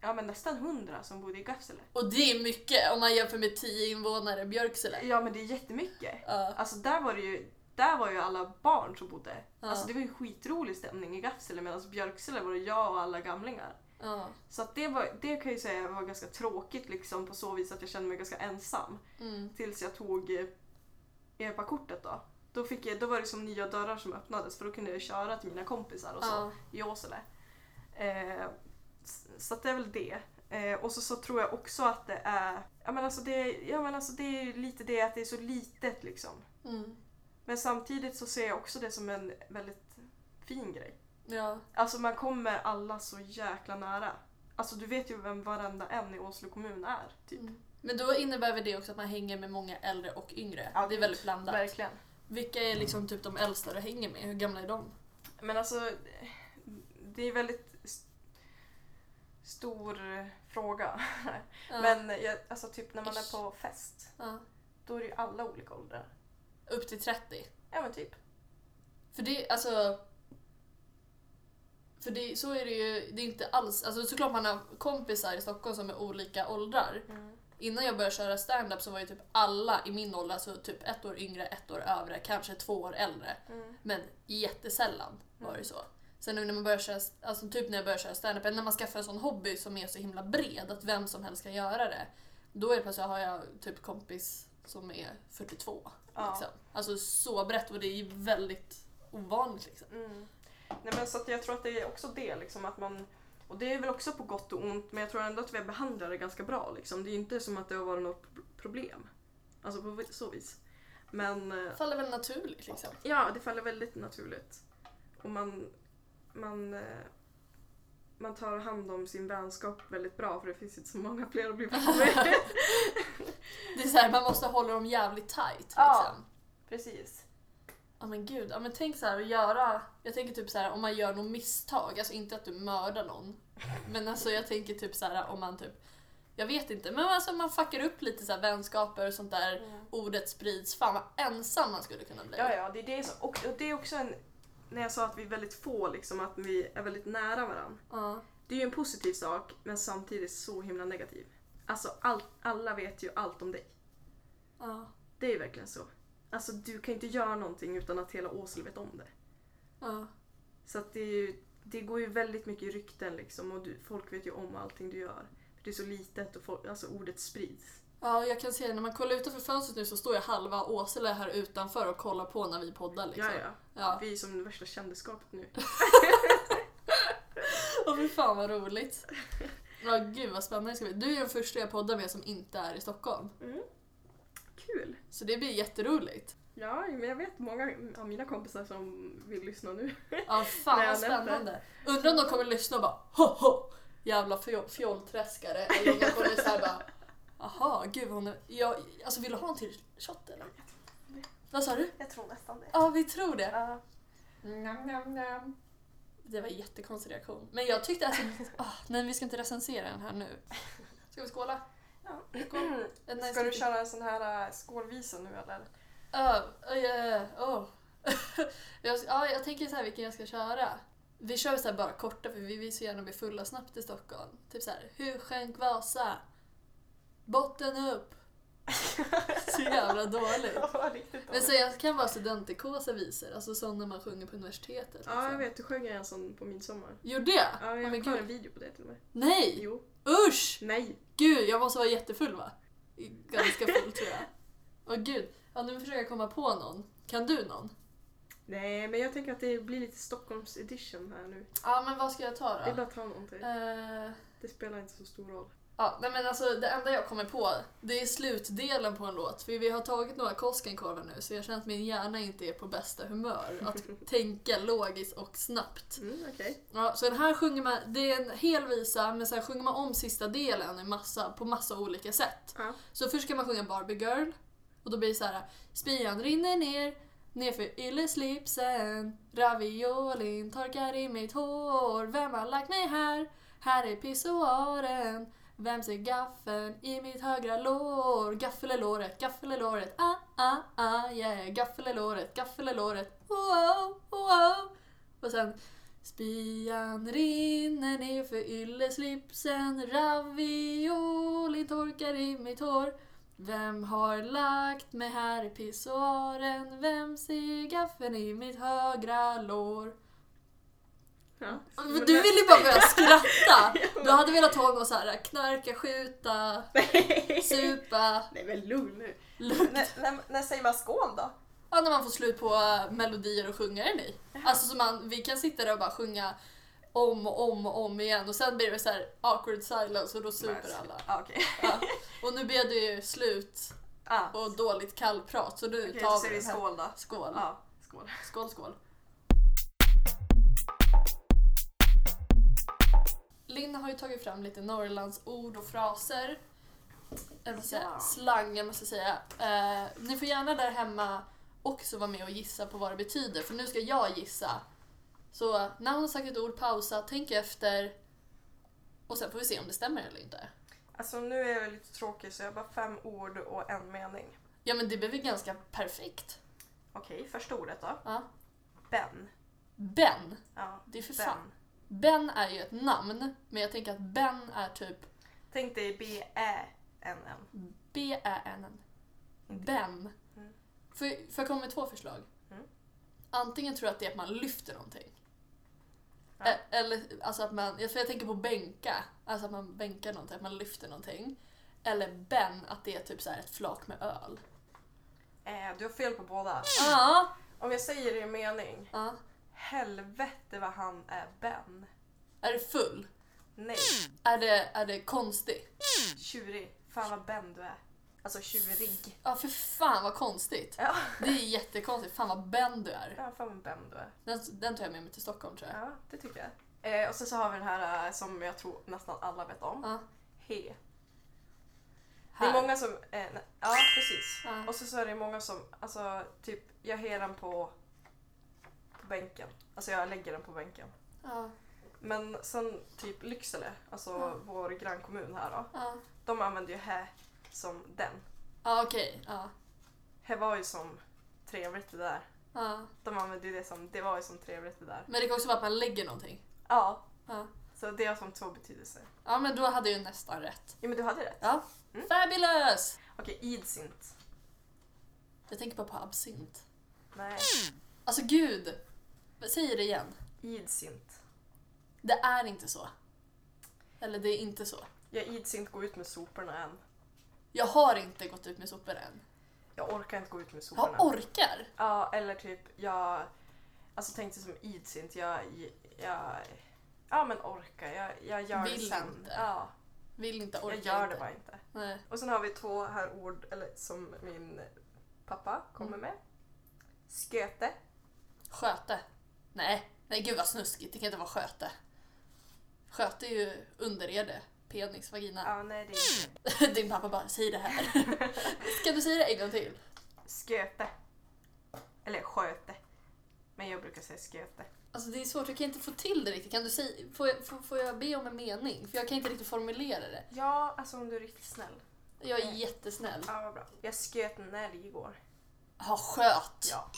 [SPEAKER 2] ja, men nästan hundra som bodde i Gafsele.
[SPEAKER 1] Och det är mycket om man jämför med 10 invånare i Björksele.
[SPEAKER 2] Ja, men det är jättemycket.
[SPEAKER 1] Ja.
[SPEAKER 2] Alltså där var det ju, där var ju alla barn som bodde.
[SPEAKER 1] Ja.
[SPEAKER 2] Alltså det var ju skitrolig stämning i Gafsele medan Björksele var det jag och alla gamlingar.
[SPEAKER 1] Ja.
[SPEAKER 2] Så att det, var, det kan jag ju säga var ganska tråkigt liksom på så vis att jag kände mig ganska ensam.
[SPEAKER 1] Mm.
[SPEAKER 2] Tills jag tog eh, EPA-kortet då. Då, fick jag, då var det som nya dörrar som öppnades för då kunde jag köra till mina kompisar och så
[SPEAKER 1] Ja.
[SPEAKER 2] i Åsele. Eh, s- så att det är väl det. Eh, och så, så tror jag också att det är, ja men alltså det, ja, men alltså det är ju lite det att det är så litet liksom.
[SPEAKER 1] Mm.
[SPEAKER 2] Men samtidigt så ser jag också det som en väldigt fin grej.
[SPEAKER 1] Ja.
[SPEAKER 2] Alltså man kommer alla så jäkla nära. Alltså du vet ju vem varenda en i Oslo kommun är. Typ.
[SPEAKER 1] Mm. Men då innebär väl det också att man hänger med många äldre och yngre?
[SPEAKER 2] Ja,
[SPEAKER 1] det är väldigt blandat.
[SPEAKER 2] Verkligen.
[SPEAKER 1] Vilka är liksom typ de äldsta du hänger med? Hur gamla är de?
[SPEAKER 2] Men alltså det är väldigt st- stor fråga.
[SPEAKER 1] Ja,
[SPEAKER 2] Men jag, alltså typ när man
[SPEAKER 1] Ish.
[SPEAKER 2] är på fest
[SPEAKER 1] ja.
[SPEAKER 2] då är det ju alla olika åldrar.
[SPEAKER 1] Upp till 30?
[SPEAKER 2] Ja men typ.
[SPEAKER 1] För det, alltså... För det, så är det ju, det är inte alls, alltså såklart man har kompisar i Stockholm som är olika åldrar. Innan jag började köra stand-up så var ju typ alla i min ålder, alltså typ ett år yngre, ett år övre, kanske två år äldre.
[SPEAKER 2] Mm.
[SPEAKER 1] Men jättesällan var det så. Sen nu när man börjar köra, alltså typ när jag började köra stand-up, eller när man skaffar en sån hobby som är så himla bred att vem som helst kan göra det. Då är det plötsligt har jag typ kompis som är 42.
[SPEAKER 2] Ja.
[SPEAKER 1] Liksom. Alltså så brett och det är ju väldigt ovanligt liksom.
[SPEAKER 2] Mm. Nej, men så att jag tror att det är också det liksom att man och det är väl också på gott och ont men jag tror ändå att vi har behandlat det ganska bra liksom. Det är ju inte som att det har varit något pro- problem. Alltså på så vis. Men eh,
[SPEAKER 1] Det faller väl naturligt liksom.
[SPEAKER 2] ja, det faller väldigt naturligt. Och man man eh, man tar hand om sin vänskap väldigt bra för det finns inte så många fler att bli vän med.
[SPEAKER 1] Det är så här, man måste hålla dem jävligt tight liksom.
[SPEAKER 2] Ja. Precis.
[SPEAKER 1] Ja men gud, ja, men tänk så här att göra, jag tänker typ så här om man gör något misstag, alltså inte att du mördar någon, men alltså jag tänker typ så här om man typ, jag vet inte, men alltså man fuckar upp lite så här vänskaper och sånt där, ordet sprids, fan vad ensam man skulle kunna bli.
[SPEAKER 2] Ja, ja, det är det som, och och det är också en när jag sa att vi är väldigt få liksom att vi är väldigt nära varandra.
[SPEAKER 1] Ja.
[SPEAKER 2] Det är ju en positiv sak men samtidigt så himla negativ. Alltså all, alla vet ju allt om dig.
[SPEAKER 1] Ja.
[SPEAKER 2] Det är ju verkligen så. Alltså du kan inte göra någonting utan att hela Åsele vet om det.
[SPEAKER 1] Ja.
[SPEAKER 2] Så att det, är ju, det går ju väldigt mycket i rykten liksom och du, folk vet ju om allting du gör. För det är så litet och folk, alltså ordet sprids.
[SPEAKER 1] Ja, och jag kan säga när man kollar utanför fönstret nu så står jag halva Åsele här utanför och kollar på när vi poddar liksom.
[SPEAKER 2] Ja, ja.
[SPEAKER 1] Ja.
[SPEAKER 2] Vi är som det värsta kändisskapet nu.
[SPEAKER 1] Och fy fan vad roligt. Ja, gud vad spännande det ska bli. Du är den första jag poddar med som inte är i Stockholm,
[SPEAKER 2] Kul!
[SPEAKER 1] så det blir jätteroligt.
[SPEAKER 2] Ja, men jag vet många av mina kompisar som vill lyssna nu.
[SPEAKER 1] Ja, fan
[SPEAKER 2] Nej,
[SPEAKER 1] vad
[SPEAKER 2] jag nämnde.
[SPEAKER 1] spännande. Undrar om de kommer lyssna och bara ho, ho, jävla fjo- fjollträskare. Eller om de kommer såhär bara jaha, gud vad hon är... Ja, alltså vill du ha en till shot eller? Vad sa du?
[SPEAKER 2] Jag tror nästan det.
[SPEAKER 1] Ja, vi tror det.
[SPEAKER 2] Ja.
[SPEAKER 1] Nam, nam, nam. Det var en jättekonstig reaktion. Men jag tyckte alltså... ah, nej, vi ska inte recensera den här nu. Mm. Ska vi skåla?
[SPEAKER 2] Ja.
[SPEAKER 1] Skål. En nice
[SPEAKER 2] Mm. Ska du
[SPEAKER 1] liten-
[SPEAKER 2] köra en sån här äh, skålvisa nu eller?
[SPEAKER 1] Ja, ja, ja, ja, oh. jag, ja, jag tänker så här vilken jag ska köra. Vi kör så här bara korta för vi vill så gärna bli fulla snabbt i Stockholm. Typ så här, hur sjönk Vasa? Botten upp! Så jävla dåligt.
[SPEAKER 2] Ja, riktigt
[SPEAKER 1] Men så jag kan vara studentikosa visor, alltså sådana man sjunger på universitetet.
[SPEAKER 2] Ja, jag
[SPEAKER 1] liksom.
[SPEAKER 2] vet. Du sjöng en sån på midsommar.
[SPEAKER 1] Gjorde jag?
[SPEAKER 2] Ja,
[SPEAKER 1] Åh,
[SPEAKER 2] jag
[SPEAKER 1] men
[SPEAKER 2] har
[SPEAKER 1] gud.
[SPEAKER 2] en video på det till och med.
[SPEAKER 1] Nej!
[SPEAKER 2] Jo.
[SPEAKER 1] Usch!
[SPEAKER 2] Nej.
[SPEAKER 1] Gud, jag måste vara jättefull va? Ganska full tror jag. Åh gud. Ja, nu försöker jag komma på någon. Kan du någon?
[SPEAKER 2] Nej, men jag tänker att det blir lite Stockholms edition här nu.
[SPEAKER 1] Ja, men vad ska jag ta då?
[SPEAKER 2] Det är bara att ta någonting.
[SPEAKER 1] Eh,
[SPEAKER 2] Det spelar inte så stor roll.
[SPEAKER 1] ja, nej men alltså det enda jag kommer på det är slutdelen på en låt. För vi har tagit några Koskenkorvar nu så jag känner att min hjärna inte är på bästa humör. Att tänka logiskt och snabbt.
[SPEAKER 2] Mm, okej.
[SPEAKER 1] Ja, så den här sjunger man, det är en hel visa men sen sjunger man om sista delen i massa, på massa olika sätt.
[SPEAKER 2] Ja.
[SPEAKER 1] Så först ska man sjunga Barbie Girl och då blir det så här Spian rinner ner, nerför ylleslipsen Raviolin torkar i mitt hår Vem har lagt mig här? Här är pissoaren Vem ser gaffeln i mitt högra lår? Gaffel är låret, gaffel är låret Ah, ah, ah, yeah Gaffel är låret, gaffel är låret Wow, wow Och sen Spian rinner ner för ylleslipsen Ravioli torkar i mitt hår Vem har lagt mig här i pissoaren? Vem ser gaffeln i mitt högra lår?
[SPEAKER 2] Ja.
[SPEAKER 1] Men Du ville ju bara börja skratta! Du hade velat ta någon så här knarka, skjuta, supa,
[SPEAKER 2] Nej men lugn nu.
[SPEAKER 1] lugn.
[SPEAKER 3] När, när, när säger man skål då?
[SPEAKER 1] Ja, när man får slut på äh, melodier och sjunga den i. Alltså så man, vi kan sitta där och bara sjunga om och om och om igen och sen blir det så här awkward silence och då super alla.
[SPEAKER 3] Ah, okej.
[SPEAKER 1] Ja. Och nu blev det ju slut
[SPEAKER 3] Ah.
[SPEAKER 1] och dåligt kallprat så nu
[SPEAKER 3] Okej, då
[SPEAKER 1] tar
[SPEAKER 3] säger
[SPEAKER 1] vi
[SPEAKER 3] vi
[SPEAKER 1] den här.
[SPEAKER 3] skål då.
[SPEAKER 1] Skål.
[SPEAKER 3] Ja, skål.
[SPEAKER 1] Skål, skål. Linn har ju tagit fram lite Norrlandsord och fraser. Eller vad ska jag säga,
[SPEAKER 4] Ja.
[SPEAKER 1] slang, jag måste säga. Eh, ni får gärna där hemma också vara med och gissa på vad det betyder, för nu ska jag gissa. Så när hon har sagt ett ord, pausa, tänk efter och sen får vi se om det stämmer eller inte.
[SPEAKER 2] Alltså nu är jag lite tråkig så jag har bara fem ord och en mening.
[SPEAKER 1] Ja men det blir väl ganska perfekt?
[SPEAKER 2] Okej, första ordet då.
[SPEAKER 1] Ja.
[SPEAKER 2] Ben.
[SPEAKER 1] Ben.
[SPEAKER 2] Ja,
[SPEAKER 1] Det är för fan.
[SPEAKER 2] ben.
[SPEAKER 1] Ben är ju ett namn, men jag tänker att Ben är typ
[SPEAKER 2] Tänk dig B-Ä-N-N.
[SPEAKER 1] B-Ä-N.
[SPEAKER 2] Inte-
[SPEAKER 1] Ben.
[SPEAKER 2] Mm.
[SPEAKER 1] För, för jag kommer med två förslag.
[SPEAKER 2] Mm.
[SPEAKER 1] Antingen tror jag att det är att man lyfter någonting.
[SPEAKER 2] Ja.
[SPEAKER 1] E- Eller alltså att man, jag- för jag tänker på bänka. Alltså att man bänkar någonting, att man lyfter någonting. Eller ben, att det är typ så här ett flak med öl.
[SPEAKER 2] Eh, du har fel på båda.
[SPEAKER 1] Ja,
[SPEAKER 2] Om jag säger det i en mening.
[SPEAKER 1] ja.
[SPEAKER 2] Helvete vad han är Ben.
[SPEAKER 1] Är det full?
[SPEAKER 2] Nej.
[SPEAKER 1] Är det, är det konstig?
[SPEAKER 2] Tjurig. Fan vad Ben du är. Alltså tjurig.
[SPEAKER 1] Ja, för fan vad konstigt.
[SPEAKER 2] Ja,
[SPEAKER 1] Det är jättekonstigt. Fan vad ben du är.
[SPEAKER 2] ja fan vad Ben du är.
[SPEAKER 1] Den, den tar jag med mig till Stockholm tror jag.
[SPEAKER 2] Ja, det tycker jag. Eh, och sen så har vi den här eh, som jag tror nästan alla vet om.
[SPEAKER 1] Ja.
[SPEAKER 2] He.
[SPEAKER 1] Här.
[SPEAKER 2] Det är många som... Eh, nej, ja, precis.
[SPEAKER 1] Ja.
[SPEAKER 2] Och så, så är det många som... Alltså, typ, jag har den på, på bänken. Alltså jag lägger den på bänken.
[SPEAKER 1] Ja,
[SPEAKER 2] Men sen typ Lycksele, alltså
[SPEAKER 1] Ja.
[SPEAKER 2] vår grannkommun här då.
[SPEAKER 1] ja.
[SPEAKER 2] De använder ju he som den.
[SPEAKER 1] Ja, okej. Ja,
[SPEAKER 2] He var ju som trevligt det där.
[SPEAKER 1] ja.
[SPEAKER 2] De använder ju det som, det var ju som trevligt det där.
[SPEAKER 1] Men det kan också vara att man lägger någonting.
[SPEAKER 2] Ja,
[SPEAKER 1] Ja.
[SPEAKER 2] så det har som två betydelser.
[SPEAKER 1] Ja, men då hade jag ju nästan rätt.
[SPEAKER 2] Ja men du hade rätt.
[SPEAKER 1] Ja.
[SPEAKER 2] Mm.
[SPEAKER 1] Fabulous!
[SPEAKER 2] Okej, idsint.
[SPEAKER 1] Jag tänker bara på absint.
[SPEAKER 2] Nej,
[SPEAKER 1] Alltså gud! Säg det igen.
[SPEAKER 2] idsint.
[SPEAKER 1] Det är inte så. Eller det är inte så.
[SPEAKER 2] Jag ids inte gå ut med soporna än.
[SPEAKER 1] Jag har inte gått ut med sopor än.
[SPEAKER 2] Jag orkar inte gå ut med soporna.
[SPEAKER 1] Jag orkar!
[SPEAKER 2] ja, eller typ jag... Alltså tänkte som ids inte. Jag, jag... Ja men orka. Jag, jag gör
[SPEAKER 1] Vill
[SPEAKER 2] det sen.
[SPEAKER 1] inte.
[SPEAKER 2] Ja,
[SPEAKER 1] Vill inte, orkar
[SPEAKER 2] jag gör
[SPEAKER 1] inte.
[SPEAKER 2] det bara inte.
[SPEAKER 1] Nej.
[SPEAKER 2] Och sen har vi två här ord eller, som min pappa kommer
[SPEAKER 1] Mm.
[SPEAKER 2] med. Sköte.
[SPEAKER 1] Sköte. Nej. Nej gud vad snuskigt, det kan inte vara sköte. Sköte är ju underrede. Penis, vagina.
[SPEAKER 2] Ja, nej det är inte.
[SPEAKER 1] Din pappa bara, säg det här. Ska du säga det en gång till?
[SPEAKER 2] Sköte. Eller sköte. Men jag brukar säga sköte.
[SPEAKER 1] Alltså det är svårt, jag kan inte få till det riktigt. Kan du säga, får, jag, får, får jag be om en mening? För jag kan inte riktigt formulera det.
[SPEAKER 2] Ja, alltså om du är riktigt snäll.
[SPEAKER 1] Jag är jättesnäll.
[SPEAKER 2] Ja, vad bra. Jag sköt en älg igår.
[SPEAKER 1] Jaha, sköt.
[SPEAKER 2] Ja.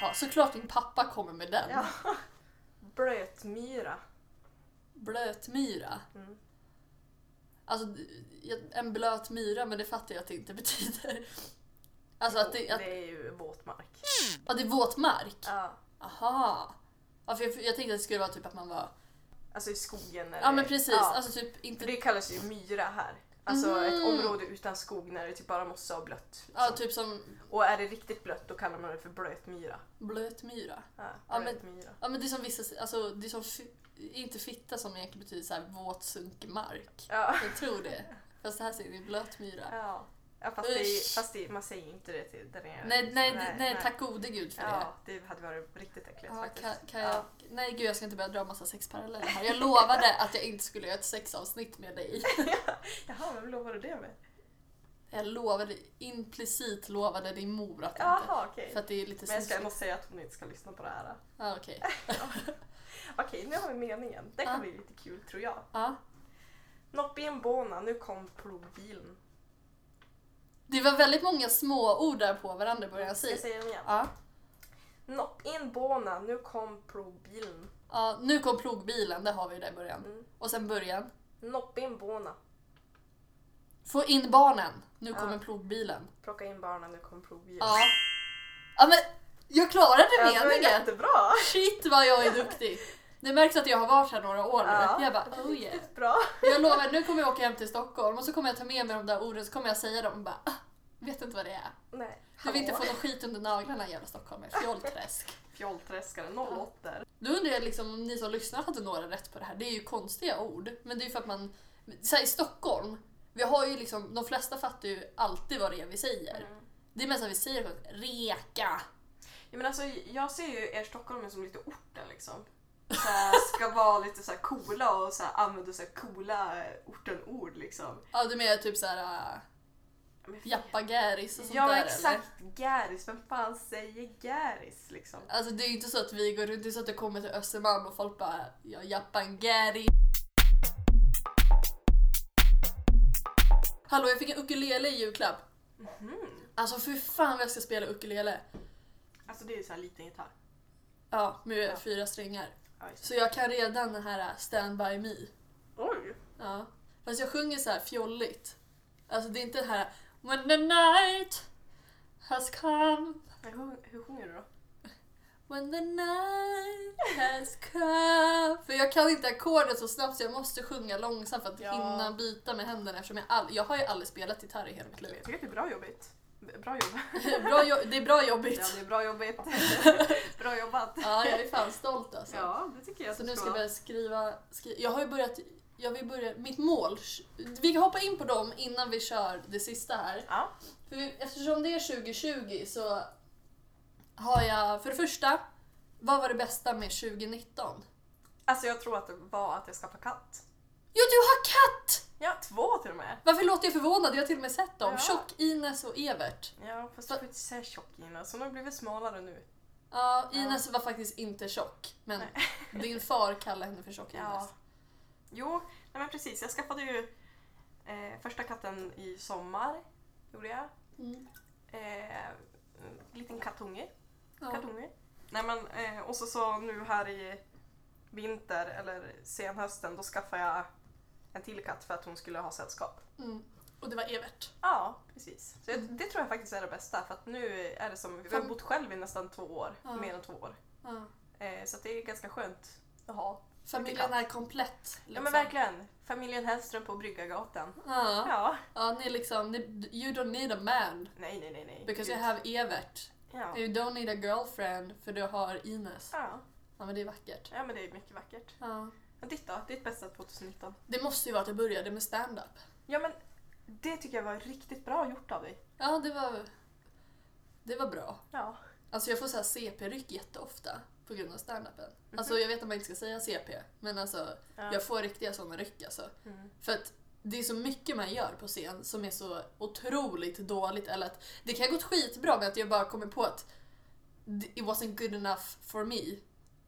[SPEAKER 1] Jaha, såklart din pappa kommer med den.
[SPEAKER 2] Ja. Blötmyra.
[SPEAKER 1] Blötmyra.
[SPEAKER 2] Mm.
[SPEAKER 1] Alltså, d- jag- en blöt myra, men det fattar jag att det inte betyder. Alltså att det,
[SPEAKER 2] Jo,
[SPEAKER 1] att,
[SPEAKER 2] det är ju våtmark.
[SPEAKER 1] ja, det är våtmark.
[SPEAKER 2] Ja.
[SPEAKER 1] Aha. Ja, för jag, jag tänkte att det skulle vara typ att man var...
[SPEAKER 2] Alltså i skogen. Eller...
[SPEAKER 1] Ja men precis,
[SPEAKER 2] Ja.
[SPEAKER 1] alltså typ
[SPEAKER 2] För
[SPEAKER 1] inte...
[SPEAKER 2] det kallas ju myra här. Alltså ett
[SPEAKER 1] Mhm.
[SPEAKER 2] område utan skog när det typ bara mossa och blött.
[SPEAKER 1] Ja,
[SPEAKER 2] liksom.
[SPEAKER 1] typ som
[SPEAKER 2] Och är det riktigt blött då kallar man det för blötmyra.
[SPEAKER 1] blötmyra.
[SPEAKER 2] Ja,
[SPEAKER 1] Ja, men-
[SPEAKER 2] blötmyra.
[SPEAKER 1] Ja men det är som vissa, alltså det är som, fi- inte fitta som egentligen betyder så här våt sunkmark.
[SPEAKER 2] Ja.
[SPEAKER 1] Jag tror det. Fast det här säger vi blötmyra.
[SPEAKER 2] Ja. ja, fast, det, är-
[SPEAKER 1] Usch.
[SPEAKER 2] fast det, man säger ju inte det till den ena.
[SPEAKER 1] Nej, nej, nej, tack gode gud för det.
[SPEAKER 2] Ja, det hade varit riktigt
[SPEAKER 1] Ja,
[SPEAKER 2] äckligt faktiskt.
[SPEAKER 1] kan, kan jag,
[SPEAKER 2] Ja.
[SPEAKER 1] Nej gud jag ska inte börja dra massa sexparalleller här. Jag lovade att jag inte skulle göra ett sexavsnitt med dig.
[SPEAKER 2] Jaha, vem lovade du det med?
[SPEAKER 1] Jag lovade, implicit lovade din mor att inte.
[SPEAKER 2] Jaha, okej.
[SPEAKER 1] För att det är lite
[SPEAKER 2] Men jag ska
[SPEAKER 1] snuskigt.
[SPEAKER 2] ändå säga att hon inte ska lyssna på det här.
[SPEAKER 1] Ja okej.
[SPEAKER 2] Okej, nu har vi meningen. Det kan
[SPEAKER 1] Ja.
[SPEAKER 2] bli lite kul tror jag.
[SPEAKER 1] Ja.
[SPEAKER 2] Nopp i en båna, nu kom plogbilen.
[SPEAKER 1] Det var väldigt många små ord där på varandra i början.
[SPEAKER 2] Mm, Ska jag
[SPEAKER 1] Säg.
[SPEAKER 2] säga den igen?
[SPEAKER 1] Ja.
[SPEAKER 2] Nopp i en båna, nu kom plogbilen.
[SPEAKER 1] ja. Nu kom plogbilen, det har vi ju där i början.
[SPEAKER 2] Mm.
[SPEAKER 1] Och sen början.
[SPEAKER 2] Nopp i en båna,
[SPEAKER 1] Få in barnen. Nu
[SPEAKER 2] Ja.
[SPEAKER 1] kommer plogbilen.
[SPEAKER 2] plocka in barnen, nu kom plogbilen.
[SPEAKER 1] Ja. Ja men jag klarade
[SPEAKER 2] Alltså, det är
[SPEAKER 1] meningen.
[SPEAKER 2] jättebra!
[SPEAKER 1] Shit vad jag är duktig. Det märks att jag har varit här några år nu.
[SPEAKER 2] Ja.
[SPEAKER 1] Jag bara oh yeah.
[SPEAKER 2] Bra!
[SPEAKER 1] Jag lovar, nu kommer jag åka hem till Stockholm och så kommer jag ta med mig de där orden så kommer jag säga dem och bara ah, vet inte vad det är.
[SPEAKER 2] Nej.
[SPEAKER 1] Du vill inte få
[SPEAKER 2] hallå.
[SPEAKER 1] någon skit under naglarna jävla stockholmare. Fjollträsk.
[SPEAKER 2] Fjollträskare, 08.
[SPEAKER 1] Då undrar jag liksom om ni som lyssnar hade några rätt på det här. Det är ju konstiga ord. Men det är ju för att man... Så här, I Stockholm, vi har ju liksom... De flesta fattar ju alltid vad det är vi säger.
[SPEAKER 2] Mm.
[SPEAKER 1] Det är mest att vi säger reka.
[SPEAKER 2] Ja, men alltså, jag ser ju er stockholmare som lite orten liksom. så här, ska vara lite så här coola och så här, använder så här coola ortenord liksom.
[SPEAKER 1] Ja, du menar typ såhär uh,
[SPEAKER 2] Men f-
[SPEAKER 1] jappagäris och sånt
[SPEAKER 2] ja
[SPEAKER 1] där
[SPEAKER 2] exakt,
[SPEAKER 1] eller?
[SPEAKER 2] gäris. Vem fan säger gäris liksom?
[SPEAKER 1] Alltså det är ju inte så att vi går runt, det är så att det kommer till Östermalm och folk bara ja, jappangäris. Hallå, jag fick en ukulele i julklapp. Alltså för fan vad jag ska spela ukulele.
[SPEAKER 2] Alltså det är ju så här liten gitarr.
[SPEAKER 1] Ja, med
[SPEAKER 2] Ja.
[SPEAKER 1] fyra strängar.
[SPEAKER 2] Ja, just
[SPEAKER 1] Så jag kan redan den här uh, Stand By Me.
[SPEAKER 5] Oj!
[SPEAKER 1] Ja. Fast jag sjunger så här fjolligt. Alltså det är inte det här When the night has come
[SPEAKER 2] det. Men hur, hur sjunger du då?
[SPEAKER 1] When the night has come För jag kan inte ackordet så snabbt så jag måste sjunga långsamt för att
[SPEAKER 2] Ja.
[SPEAKER 1] hinna byta med händerna eftersom jag, all, jag har ju aldrig spelat gitarr i hela mitt
[SPEAKER 2] Jag
[SPEAKER 1] liv.
[SPEAKER 2] tycker att det är bra jobbigt. Bra jobb.
[SPEAKER 1] Bra jo- det är bra
[SPEAKER 2] Ja,
[SPEAKER 1] jobbigt.
[SPEAKER 2] det är bra jobbigt. bra jobbat.
[SPEAKER 1] Ja, jag är fan stolt alltså.
[SPEAKER 2] Ja, det tycker jag att
[SPEAKER 1] Så
[SPEAKER 2] du
[SPEAKER 1] nu ska
[SPEAKER 2] vara.
[SPEAKER 1] jag börja skriva, skri- Jag har ju börjat, jag vill börja, mitt mål, vi kan hoppa in på dem innan vi kör det sista här.
[SPEAKER 2] Ja.
[SPEAKER 1] För vi, eftersom det är 2020 så har jag, för det första, vad var det bästa med 2019?
[SPEAKER 2] Alltså jag tror att det var att jag skaffade katt.
[SPEAKER 1] Jo, du har katt!
[SPEAKER 2] Ja, två till och med.
[SPEAKER 1] Varför låter jag förvånad? Jag har till och med sett dem.
[SPEAKER 2] Ja.
[SPEAKER 1] Tjock-Ines och Evert.
[SPEAKER 2] Ja, fast du får inte säga tjock Ina, så hon har blivit smalare nu.
[SPEAKER 1] Ja,
[SPEAKER 2] Ja.
[SPEAKER 1] Ines var faktiskt inte tjock, men din far kallade henne för tjock-Ines.
[SPEAKER 2] Ja. Jo, nej men precis. Jag skaffade ju eh, första katten i sommar. Gjorde jag.
[SPEAKER 1] Mm.
[SPEAKER 2] Eh, en liten kattunge.
[SPEAKER 1] Ja.
[SPEAKER 2] kattunge. Nej men, eh, och så, så nu här i vinter eller senhösten då skaffade jag en till katt för att hon skulle ha sällskap.
[SPEAKER 1] Mm. Och det var Evert.
[SPEAKER 2] Ja, precis. Så jag, det tror jag faktiskt är det bästa för att nu är det som, vi har
[SPEAKER 1] Fan.
[SPEAKER 2] bott själv i nästan två år,
[SPEAKER 1] Ja.
[SPEAKER 2] mer än två år.
[SPEAKER 1] Ja.
[SPEAKER 2] Eh, så att det är ganska skönt att ha.
[SPEAKER 1] Familjen är komplett. liksom.
[SPEAKER 2] Ja men verkligen! Familjen Hellström på Bryggargatan.
[SPEAKER 1] Ja.
[SPEAKER 2] Ja.
[SPEAKER 1] Ja, ni liksom, ni, you don't need a man
[SPEAKER 2] Nej, nej, nej, nej.
[SPEAKER 1] because you
[SPEAKER 2] Gud.
[SPEAKER 1] have Evert.
[SPEAKER 2] Ja.
[SPEAKER 1] You don't need a girlfriend för du har Ines.
[SPEAKER 2] Ja.
[SPEAKER 1] Ja, men det är vackert.
[SPEAKER 2] ja, men det är mycket vackert.
[SPEAKER 1] Ja.
[SPEAKER 2] Men ditt då? Ditt bästa 2019?
[SPEAKER 1] Det måste ju vara att jag började med stand-up.
[SPEAKER 2] Ja men, det tycker jag var riktigt bra gjort av dig.
[SPEAKER 1] Ja, det var, det var bra.
[SPEAKER 2] Ja.
[SPEAKER 1] Alltså jag får så här CP-ryck jätteofta på grund av stand-upen. Alltså jag vet att man inte ska säga CP, men alltså
[SPEAKER 2] Ja.
[SPEAKER 1] jag får riktiga sådana ryck alltså.
[SPEAKER 2] Mm.
[SPEAKER 1] För att det är så mycket man gör på scen som är så otroligt dåligt. Eller att det kan ha gått skitbra men att jag bara kommer på att it wasn't good enough for me.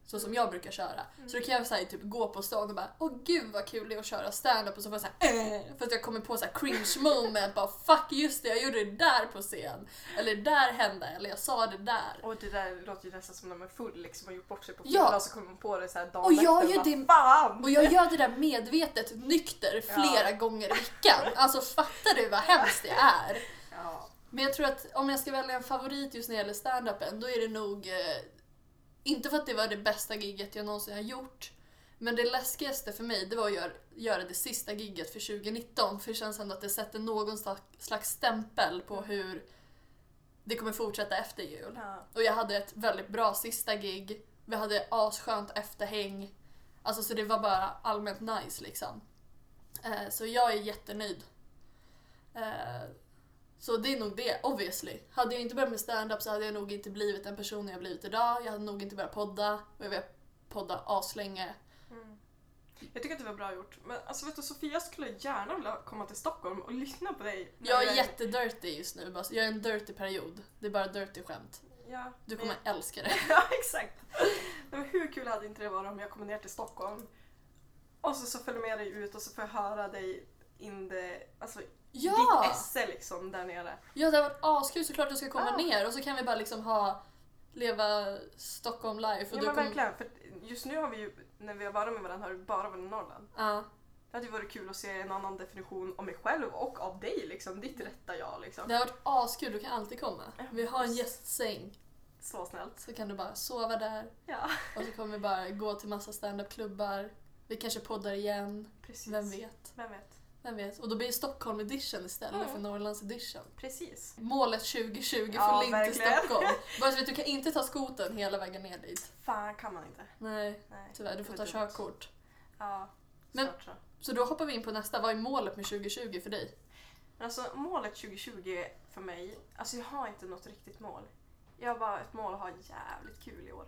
[SPEAKER 1] Så som jag brukar köra. Så då kan jag så här, typ gå på stan och bara åh gud vad kul det är att köra stand-up och så får jag såhär äh, för att jag kommer på så här cringe moment bara fuck just det jag gjorde det där på scen. Eller det där hände eller jag sa det där.
[SPEAKER 2] Och det där låter ju nästan som när man är full liksom och gjort bort sig på
[SPEAKER 1] Ja.
[SPEAKER 2] fylla och så kommer man på det så här dagen
[SPEAKER 1] Och jag
[SPEAKER 2] efter,
[SPEAKER 1] gör
[SPEAKER 2] bara,
[SPEAKER 1] det-
[SPEAKER 2] Fan!
[SPEAKER 1] Och jag gör det där medvetet nykter flera gånger i veckan. Alltså fattar du vad hemskt det är?
[SPEAKER 2] Ja.
[SPEAKER 1] Men jag tror att om jag ska välja en favorit just när det gäller stand-upen, då är det nog... Eh, inte för att det var det bästa gigget jag någonsin har gjort, men det läskigaste för mig det var att göra, göra det sista gigget för 2019, för det känns ändå att det sätter någon slags, slags stämpel på hur det kommer fortsätta efter jul.
[SPEAKER 2] Ja.
[SPEAKER 1] Och jag hade ett väldigt bra sista gig, vi hade asskönt efterhäng, alltså så det var bara allmänt nice liksom. Eh, så jag är jättenöjd. Eh, så det är nog det, obviously. Hade jag inte börjat med stand-up så hade jag nog inte blivit den personen jag blivit idag. Jag hade nog inte börjat podda och jag har podda aslänge. Mm.
[SPEAKER 2] Jag tycker att det var bra gjort. Men alltså vet du Sofia skulle gärna vilja komma till Stockholm och lyssna på dig. när
[SPEAKER 1] Jag
[SPEAKER 2] du
[SPEAKER 1] är jättedirty just nu. bara så- Jag är i en dirty period. Det är bara dirty skämt.
[SPEAKER 2] Ja,
[SPEAKER 1] Du
[SPEAKER 2] men-
[SPEAKER 1] kommer älska det.
[SPEAKER 2] Ja, exakt. Nej, men hur kul hade inte det varit om jag kommer ner till Stockholm och så, så följer med dig ut och så får jag höra dig in the, alltså,
[SPEAKER 1] Ja!
[SPEAKER 2] ditt esse liksom där nere.
[SPEAKER 1] Ja, det har varit askul såklart du ska komma
[SPEAKER 2] Ja.
[SPEAKER 1] ner och så kan vi bara liksom ha leva Stockholm life.
[SPEAKER 2] Ja
[SPEAKER 1] Och
[SPEAKER 2] men
[SPEAKER 1] du kommer-
[SPEAKER 2] verkligen, för just nu har vi ju, när vi har varit med varandra har det bara varit Norrland.
[SPEAKER 1] Ja.
[SPEAKER 2] Det hade ju varit kul att se en annan definition av mig själv och av dig liksom, ditt rätta jag liksom.
[SPEAKER 1] Det har varit askul, du kan alltid komma.
[SPEAKER 2] Ja,
[SPEAKER 1] Vi har en
[SPEAKER 2] precis.
[SPEAKER 1] gästsäng
[SPEAKER 2] Så snällt.
[SPEAKER 1] så kan du bara sova där
[SPEAKER 2] Ja,
[SPEAKER 1] och så kommer vi bara gå till massa standup-klubbar. Vi kanske poddar igen,
[SPEAKER 2] precis.
[SPEAKER 1] vem vet?
[SPEAKER 2] Vem vet?
[SPEAKER 1] Vem vet? Och då blir det Stockholm edition istället
[SPEAKER 2] Mm.
[SPEAKER 1] för Norrlands edition.
[SPEAKER 2] Precis.
[SPEAKER 1] Målet 2020
[SPEAKER 2] Ja,
[SPEAKER 1] för Lind till
[SPEAKER 2] verkligen.
[SPEAKER 1] Stockholm. Bara så att du kan inte ta skoten hela vägen ner dit.
[SPEAKER 2] Fan kan man inte.
[SPEAKER 1] Nej,
[SPEAKER 2] Nej.
[SPEAKER 1] tyvärr. Du får
[SPEAKER 2] det
[SPEAKER 1] ta
[SPEAKER 2] var dumt.
[SPEAKER 1] körkort.
[SPEAKER 2] Ja,
[SPEAKER 1] Men-
[SPEAKER 2] snart så.
[SPEAKER 1] Så då hoppar vi in på nästa. Vad är målet med 2020 för dig?
[SPEAKER 2] Men alltså målet 2020 för mig, alltså jag har inte något riktigt mål. Jag har bara ett mål att ha jävligt kul i år.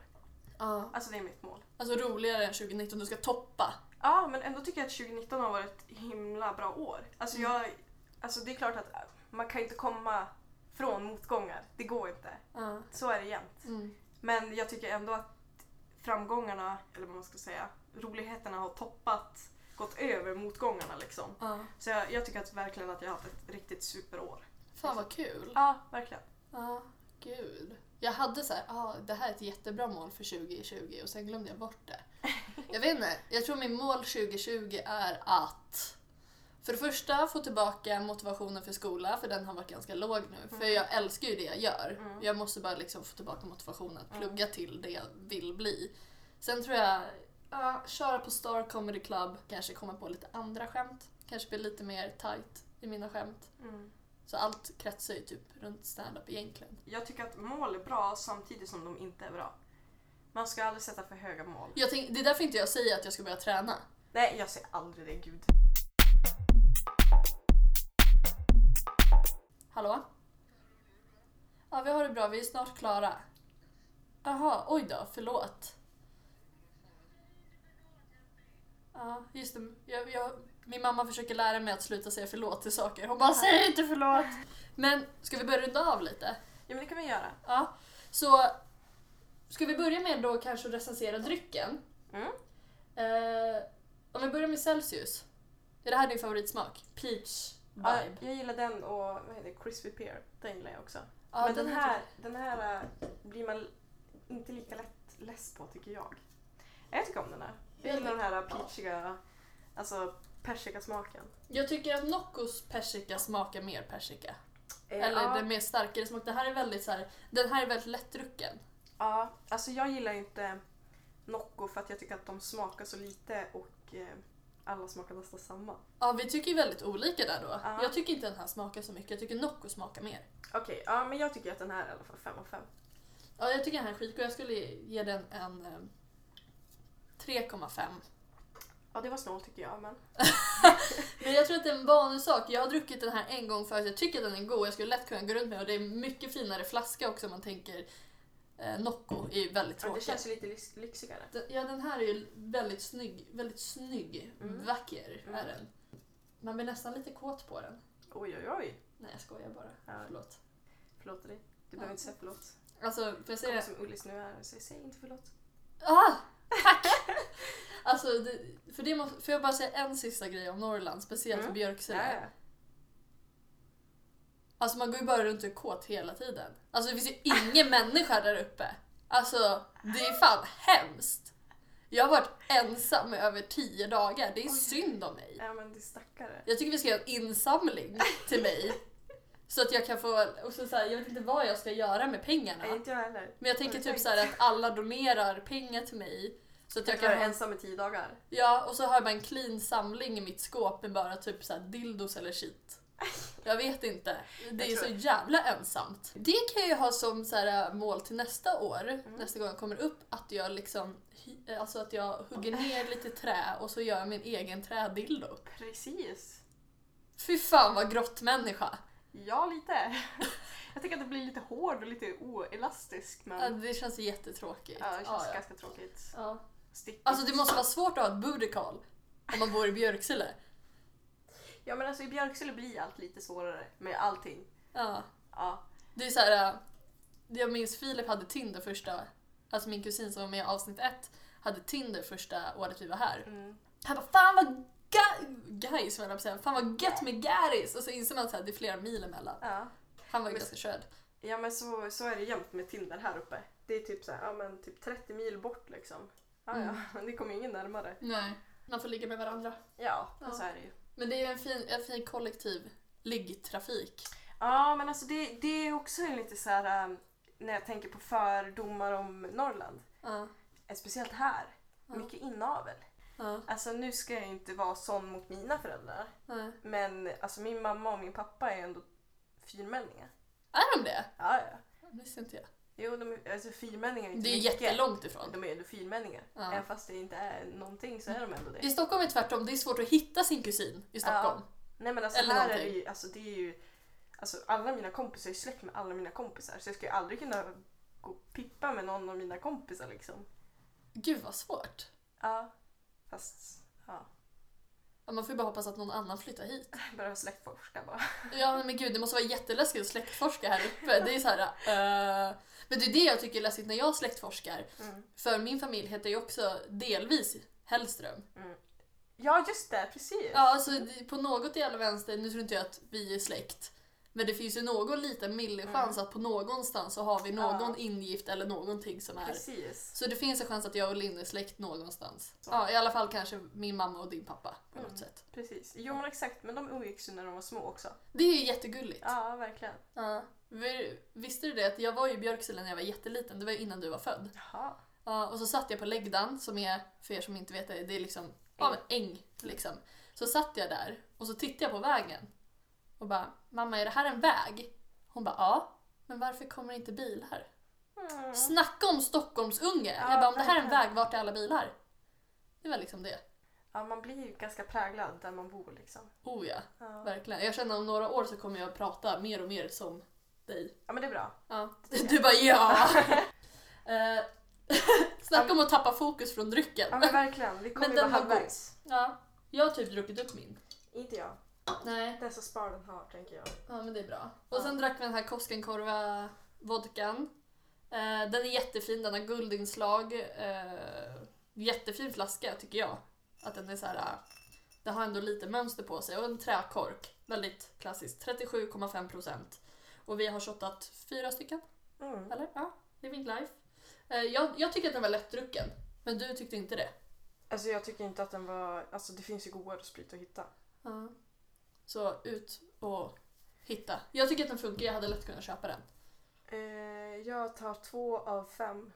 [SPEAKER 1] Ja.
[SPEAKER 2] Alltså det är mitt mål.
[SPEAKER 1] Alltså roligare än 2019, du ska toppa.
[SPEAKER 2] Ja, men ändå tycker jag att 2019 har varit ett himla bra år. Alltså,
[SPEAKER 1] Mm.
[SPEAKER 2] jag, alltså det är klart att man kan ju inte komma från motgångar. Det går inte.
[SPEAKER 1] Ja.
[SPEAKER 2] Så är det jämt.
[SPEAKER 1] Mm.
[SPEAKER 2] Men jag tycker ändå att framgångarna, eller vad man ska säga, roligheterna har toppat, gått över motgångarna liksom.
[SPEAKER 1] Ja.
[SPEAKER 2] Så jag, jag tycker att verkligen att jag har haft ett riktigt superår.
[SPEAKER 1] Fan vad kul.
[SPEAKER 2] Ja, verkligen.
[SPEAKER 1] Ja, gud. Jag hade så här, ah, det här är ett jättebra mål för 2020 och sen glömde jag bort det. Jag vet inte, jag tror min mål 2020 är att för det första få tillbaka motivationen för skola, för den har varit ganska låg nu. För
[SPEAKER 2] Mm.
[SPEAKER 1] jag älskar ju det jag gör.
[SPEAKER 2] Mm.
[SPEAKER 1] Jag måste bara liksom få tillbaka motivationen att
[SPEAKER 2] Mm.
[SPEAKER 1] plugga till det jag vill bli. Sen tror jag, ja, köra på Star Comedy Club, kanske komma på lite andra skämt. Kanske bli lite mer tight i mina skämt.
[SPEAKER 2] Mm.
[SPEAKER 1] Så allt kretsar ju typ runt stand-up egentligen.
[SPEAKER 2] Jag tycker att mål är bra samtidigt som de inte är bra. Man ska aldrig sätta för höga mål.
[SPEAKER 1] Jag tänk, det är därför inte jag säger att jag ska börja träna.
[SPEAKER 2] Nej, jag säger aldrig det, gud.
[SPEAKER 1] Hallå? Ja, vi har det bra. Vi är snart klara. Jaha, oj då, förlåt. Ja, just det. Jag, jag, min mamma försöker lära mig att sluta säga förlåt till saker. Hon bara säger inte förlåt. Men ska vi börja runda av lite?
[SPEAKER 2] Ja, men det kan vi göra.
[SPEAKER 1] Ja. Så ska vi börja med då kanske att recensera drycken?
[SPEAKER 2] Mm.
[SPEAKER 1] Eh, om vi börjar med Celsius. Är det här din favoritsmak? Peach
[SPEAKER 2] Ja,
[SPEAKER 1] vibe.
[SPEAKER 2] jag gillar den och vad heter det, Crispy Pear. Den gillar jag också.
[SPEAKER 1] Ja,
[SPEAKER 2] men den,
[SPEAKER 1] är
[SPEAKER 2] här, den här äh, blir man inte lika lätt less på tycker jag. Jag tycker om den här. Jag gillar den här peachiga, alltså persika smaken.
[SPEAKER 1] Jag tycker att Noccos persika smakar mer persika.
[SPEAKER 2] Eh,
[SPEAKER 1] Eller
[SPEAKER 2] ja,
[SPEAKER 1] den mer starkare smak. Det här är väldigt så här, den här är väldigt lättdrucken.
[SPEAKER 2] ja, alltså jag gillar inte Nocco för att jag tycker att de smakar så lite och eh, alla smakar nästan samma.
[SPEAKER 1] Ja, vi tycker ju väldigt olika där då.
[SPEAKER 2] Ja.
[SPEAKER 1] Jag tycker inte den här smakar så mycket. Jag tycker Nocco smakar mer.
[SPEAKER 2] Okej, ja men jag tycker att den här är i alla fall 5 av 5.
[SPEAKER 1] Ja, jag tycker den här är skitgod. Jag skulle ge den en eh, 3,5.
[SPEAKER 2] Ja det var snålt tycker jag men.
[SPEAKER 1] Men jag tror att det är en vanlig sak. Jag har druckit den här en gång förut. Jag tycker att den är god. Jag skulle lätt kunna gå runt med den. Och det är mycket finare flaska också om man tänker eh, Nocco är ju väldigt
[SPEAKER 2] Ja, det
[SPEAKER 1] tråkig.
[SPEAKER 2] känns ju lite lyx- lyxigare.
[SPEAKER 1] Den- Ja, den här är ju väldigt snygg. Väldigt snygg.
[SPEAKER 2] Mm.
[SPEAKER 1] Vacker
[SPEAKER 2] Mm.
[SPEAKER 1] är den. Man blir nästan lite kåt på den.
[SPEAKER 2] Oj oj oj.
[SPEAKER 1] Nej, jag skojar bara.
[SPEAKER 2] Ja,
[SPEAKER 1] Förlåt.
[SPEAKER 2] förlåt dig. Du behöver
[SPEAKER 1] Ja.
[SPEAKER 2] inte säga förlåt.
[SPEAKER 1] Alltså, för jag
[SPEAKER 2] Säg
[SPEAKER 1] säga...
[SPEAKER 2] som Ullis nu är och säger säg inte förlåt.
[SPEAKER 1] Ah! Tack! alltså, det, för det måste... Får jag bara säga en sista grej om Norrland? Speciellt
[SPEAKER 2] Mm.
[SPEAKER 1] Björksele. Alltså man går ju bara runt och är kåt hela tiden. Alltså det finns ju ingen människa där uppe. Alltså det är fan hemskt. Jag har varit ensam i över tio dagar. Det är
[SPEAKER 2] Oj.
[SPEAKER 1] synd om mig.
[SPEAKER 2] Ja men det är stackare.
[SPEAKER 1] Jag tycker vi ska göra en insamling till mig. Så att jag kan få, och så, så här, jag vet inte vad jag ska göra med pengarna.
[SPEAKER 2] Nej inte jag heller.
[SPEAKER 1] Men jag tänker typ så här att alla donerar pengar till mig. Så att jag kan
[SPEAKER 2] vara
[SPEAKER 1] ha,
[SPEAKER 2] ensam i tio dagar.
[SPEAKER 1] ja, och så har jag bara en clean samling i mitt skåp med bara typ så här dildos eller shit. Jag vet inte. Det är
[SPEAKER 2] Jag
[SPEAKER 1] så
[SPEAKER 2] tror-
[SPEAKER 1] jävla ensamt. Det kan jag ju ha som så här äh, mål till nästa år,
[SPEAKER 2] Mm.
[SPEAKER 1] nästa gång jag kommer upp, att jag liksom hy- alltså att jag hugger ner lite trä och så gör jag min egen trädildo.
[SPEAKER 2] Precis.
[SPEAKER 1] Fy fan vad grottmänniska.
[SPEAKER 2] Ja lite. jag tycker att det blir lite hård och lite oelastisk
[SPEAKER 1] Ja,
[SPEAKER 2] men
[SPEAKER 1] Äh, Det känns jättetråkigt.
[SPEAKER 2] ja, det känns
[SPEAKER 1] Ja, ja.
[SPEAKER 2] ganska tråkigt.
[SPEAKER 1] Ja.
[SPEAKER 2] Stickigt.
[SPEAKER 1] Alltså det måste vara svårt att ha ett booty call om man bor i Björksele.
[SPEAKER 2] Ja men alltså i Björksele blir allt lite svårare med allting.
[SPEAKER 1] Ja.
[SPEAKER 2] Ja.
[SPEAKER 1] Det är så här, äh, jag minns Filip hade Tinder första, alltså min kusin som var med i avsnitt ett hade Tinder första året vi var här.
[SPEAKER 2] Mm.
[SPEAKER 1] Han bara fan vad ga- guys vad jag säga, fan vad gött med Garis! Och så inser man att det är flera mil emellan.
[SPEAKER 2] ja.
[SPEAKER 1] Han var ju
[SPEAKER 2] Men-
[SPEAKER 1] ganska körd.
[SPEAKER 2] Ja men så, så är det jämt med Tinder här uppe. Det är typ så här, ja men typ 30 mil bort liksom. Ja ja, det kommer ingen närmare.
[SPEAKER 1] Nej. Man får ligga med varandra.
[SPEAKER 2] Ja,
[SPEAKER 1] Ja.
[SPEAKER 2] så är det ju.
[SPEAKER 1] Men det är ju en fin, en fin kollektiv liggtrafik.
[SPEAKER 2] Ja, men alltså det, det är också en lite så här ähm, när jag tänker på fördomar om Norrland.
[SPEAKER 1] Ja.
[SPEAKER 2] Eh, Speciellt här.
[SPEAKER 1] Ja.
[SPEAKER 2] Mycket inavel.
[SPEAKER 1] Ja.
[SPEAKER 2] Alltså nu ska jag ju inte vara sån mot mina föräldrar.
[SPEAKER 1] Nej.
[SPEAKER 2] Men alltså min mamma och min pappa är ändå fyrmänningar.
[SPEAKER 1] Är de det?
[SPEAKER 2] Ja, ja.
[SPEAKER 1] Det visste inte jag.
[SPEAKER 2] Jo, de är, alltså fyrmänningar är inte
[SPEAKER 1] Det är ju
[SPEAKER 2] mycket.
[SPEAKER 1] jättelångt ifrån.
[SPEAKER 2] De är ändå fyrmänningar.
[SPEAKER 1] Ja. Mm.
[SPEAKER 2] Även fast det inte är någonting så är de ändå det.
[SPEAKER 1] I Stockholm är det tvärtom, det är svårt att hitta sin kusin i Stockholm.
[SPEAKER 2] Nej men alltså
[SPEAKER 1] Eller
[SPEAKER 2] här är
[SPEAKER 1] någonting.
[SPEAKER 2] det ju, alltså det är ju, alltså alla mina kompisar är släkt med alla mina kompisar så jag skulle ju aldrig kunna gå och pippa med någon av mina kompisar liksom.
[SPEAKER 1] Gud vad svårt.
[SPEAKER 2] Ja. Fast ja.
[SPEAKER 1] Ja, Man får ju bara hoppas att någon annan flyttar hit.
[SPEAKER 2] Jag börjar släktforska bara.
[SPEAKER 1] Ja men gud det måste vara jätteläskigt att släktforska här uppe. Det är så här, eh, men det är det jag tycker är läskigt när jag släktforskar.
[SPEAKER 2] Mm.
[SPEAKER 1] För min familj heter ju också delvis Hellström.
[SPEAKER 2] Ja just det, precis.
[SPEAKER 1] Ja, alltså det- på något jävla vänster, nu tror inte jag att vi är släkt, men det finns ju någon liten millichans att på någonstans så har vi någon
[SPEAKER 2] Mm. Ja.
[SPEAKER 1] ingift eller någonting som är.
[SPEAKER 2] Precis.
[SPEAKER 1] Så det finns en chans att jag och Linn är släkt någonstans. Ja, i alla fall kanske min mamma och din pappa på
[SPEAKER 2] Mm.
[SPEAKER 1] något sätt.
[SPEAKER 2] Precis. Jo men exakt, men de umgicks ju när de var små också.
[SPEAKER 1] Det är ju jättegulligt.
[SPEAKER 2] Ja, verkligen.
[SPEAKER 1] Ja. Vi- Visste du det att jag var ju i Björksele när jag var jätteliten, det var ju innan du var född.
[SPEAKER 2] Jaha.
[SPEAKER 1] Ja, och så satt jag på läggdan som är, för er som inte vet det, det är liksom ja, men äng. Liksom. Så satt jag där och så tittade jag på vägen och bara “Mamma, är det här en väg?” Hon bara “Ja, men varför kommer det inte bilar?”
[SPEAKER 2] Mm.
[SPEAKER 1] Snacka om Stockholmsunge!
[SPEAKER 2] Ja,
[SPEAKER 1] jag bara “Om det här är en väg,
[SPEAKER 2] verkligen.
[SPEAKER 1] vart är alla bilar?” Det var liksom det.
[SPEAKER 2] Ja, man blir ju ganska präglad där man bor liksom.
[SPEAKER 1] Oh ja,
[SPEAKER 2] Ja,
[SPEAKER 1] verkligen. Jag känner om några år så kommer jag prata mer och mer som dig.
[SPEAKER 2] ja men det är bra.
[SPEAKER 1] Ja. Du bara “Ja!” Eh, Snacka om att tappa fokus från drycken.
[SPEAKER 2] Ja men verkligen, vi kommer
[SPEAKER 1] Men
[SPEAKER 2] ju
[SPEAKER 1] den
[SPEAKER 2] bara
[SPEAKER 1] var god.
[SPEAKER 2] halvvägs.
[SPEAKER 1] Ja, jag har typ druckit upp min.
[SPEAKER 2] Inte jag.
[SPEAKER 1] Mm. Nej.
[SPEAKER 2] Den som spar den har tänker jag.
[SPEAKER 1] Ja men det är bra. Och sen drack vi den här Koskenkorva vodkan. Eh, den är jättefin, den har guldinslag. Eh, jättefin flaska tycker jag. Att den är så här. eh, Det har ändå lite mönster på sig och en träkork. Väldigt klassiskt. 37,5%. Och vi har shottat fyra stycken,
[SPEAKER 2] Mm.
[SPEAKER 1] eller? Ja, living life. Eh, jag, jag tycker att den var lättdrucken. Men du tyckte inte det.
[SPEAKER 2] Alltså jag tycker inte att den var, alltså det finns ju godare sprit att hitta.
[SPEAKER 1] Ja. Så ut och hitta. Jag tycker att den funkar, jag hade lätt kunnat köpa den.
[SPEAKER 2] Eh, jag tar två av fem.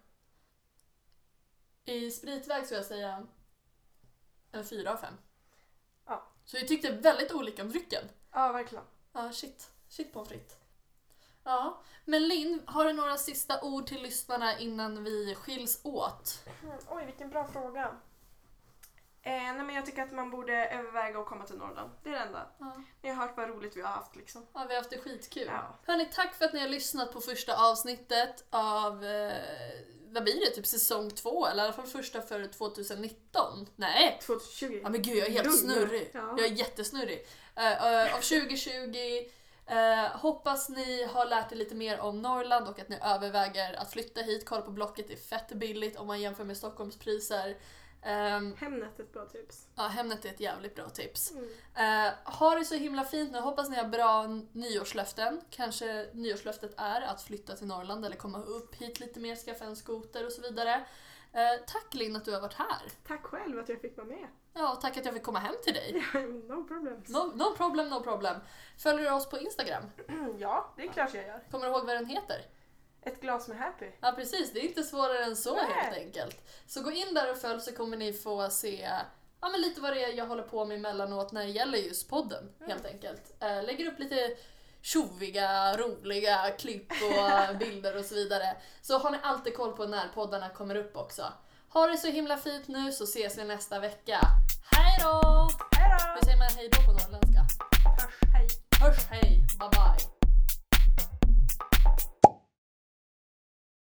[SPEAKER 1] I spritväg skulle jag säga en fyra av fem.
[SPEAKER 2] Ja.
[SPEAKER 1] Så vi tyckte väldigt olika om drycken.
[SPEAKER 2] Ja verkligen.
[SPEAKER 1] Ja, shit. Shit pommes frites. Ja, men Linn, har du några sista ord till lyssnarna innan vi skiljs åt?
[SPEAKER 2] Mm, Oj vilken bra fråga. Eh, nej men jag tycker att man borde överväga att komma till Norrland. Det är det enda.
[SPEAKER 1] Ja.
[SPEAKER 2] Ni har hört vad roligt vi har haft liksom.
[SPEAKER 1] Ja, vi har haft det skitkul.
[SPEAKER 2] Ja.
[SPEAKER 1] Hörni, tack för att ni har lyssnat på första avsnittet av, eh, vad blir det, typ säsong två? Eller i alla fall första för 2019? Nej,
[SPEAKER 2] 2020.
[SPEAKER 1] Ja men gud jag är helt
[SPEAKER 2] Lugn.
[SPEAKER 1] snurrig.
[SPEAKER 2] Ja.
[SPEAKER 1] Jag är jättesnurrig. Eh, eh, av 2020. eh, hoppas ni har lärt er lite mer om Norrland och att ni överväger att flytta hit. Kolla på Blocket är fett billigt om man jämför med Stockholmspriser. Um,
[SPEAKER 2] Hemnet är ett bra tips.
[SPEAKER 1] ja, Hemnet är ett jävligt bra tips.
[SPEAKER 2] Mm.
[SPEAKER 1] Eh, ha det så himla fint nu. Hoppas ni har bra n- nyårslöften. Kanske nyårslöftet är att flytta till Norrland eller komma upp hit lite mer, skaffa en skoter och så vidare. Eh, tack Linn att du har varit här.
[SPEAKER 2] Tack själv att jag fick vara med.
[SPEAKER 1] Ja, och tack att jag fick komma hem till dig.
[SPEAKER 2] no problem.
[SPEAKER 1] No, no problem, no problem. Följer du oss på Instagram?
[SPEAKER 2] Mm, Ja, det är klart jag gör.
[SPEAKER 1] Kommer du ihåg vad den heter?
[SPEAKER 2] Ett glas med Happy.
[SPEAKER 1] Ja precis, det är inte svårare än så
[SPEAKER 2] Nej.
[SPEAKER 1] helt enkelt. Så gå in där och följ så kommer ni få se ja, men lite vad det är jag håller på med emellanåt när det gäller just podden helt enkelt. Eh, lägger upp lite tjoviga, roliga klipp och bilder och så vidare. Så har ni alltid koll på när poddarna kommer upp också. Ha det så himla fint nu så ses vi nästa vecka. Hej då!
[SPEAKER 2] Hej då!
[SPEAKER 1] Hur säger man hej då på norrländska?
[SPEAKER 2] Hörs, hej!
[SPEAKER 1] Hörs hej, bye bye!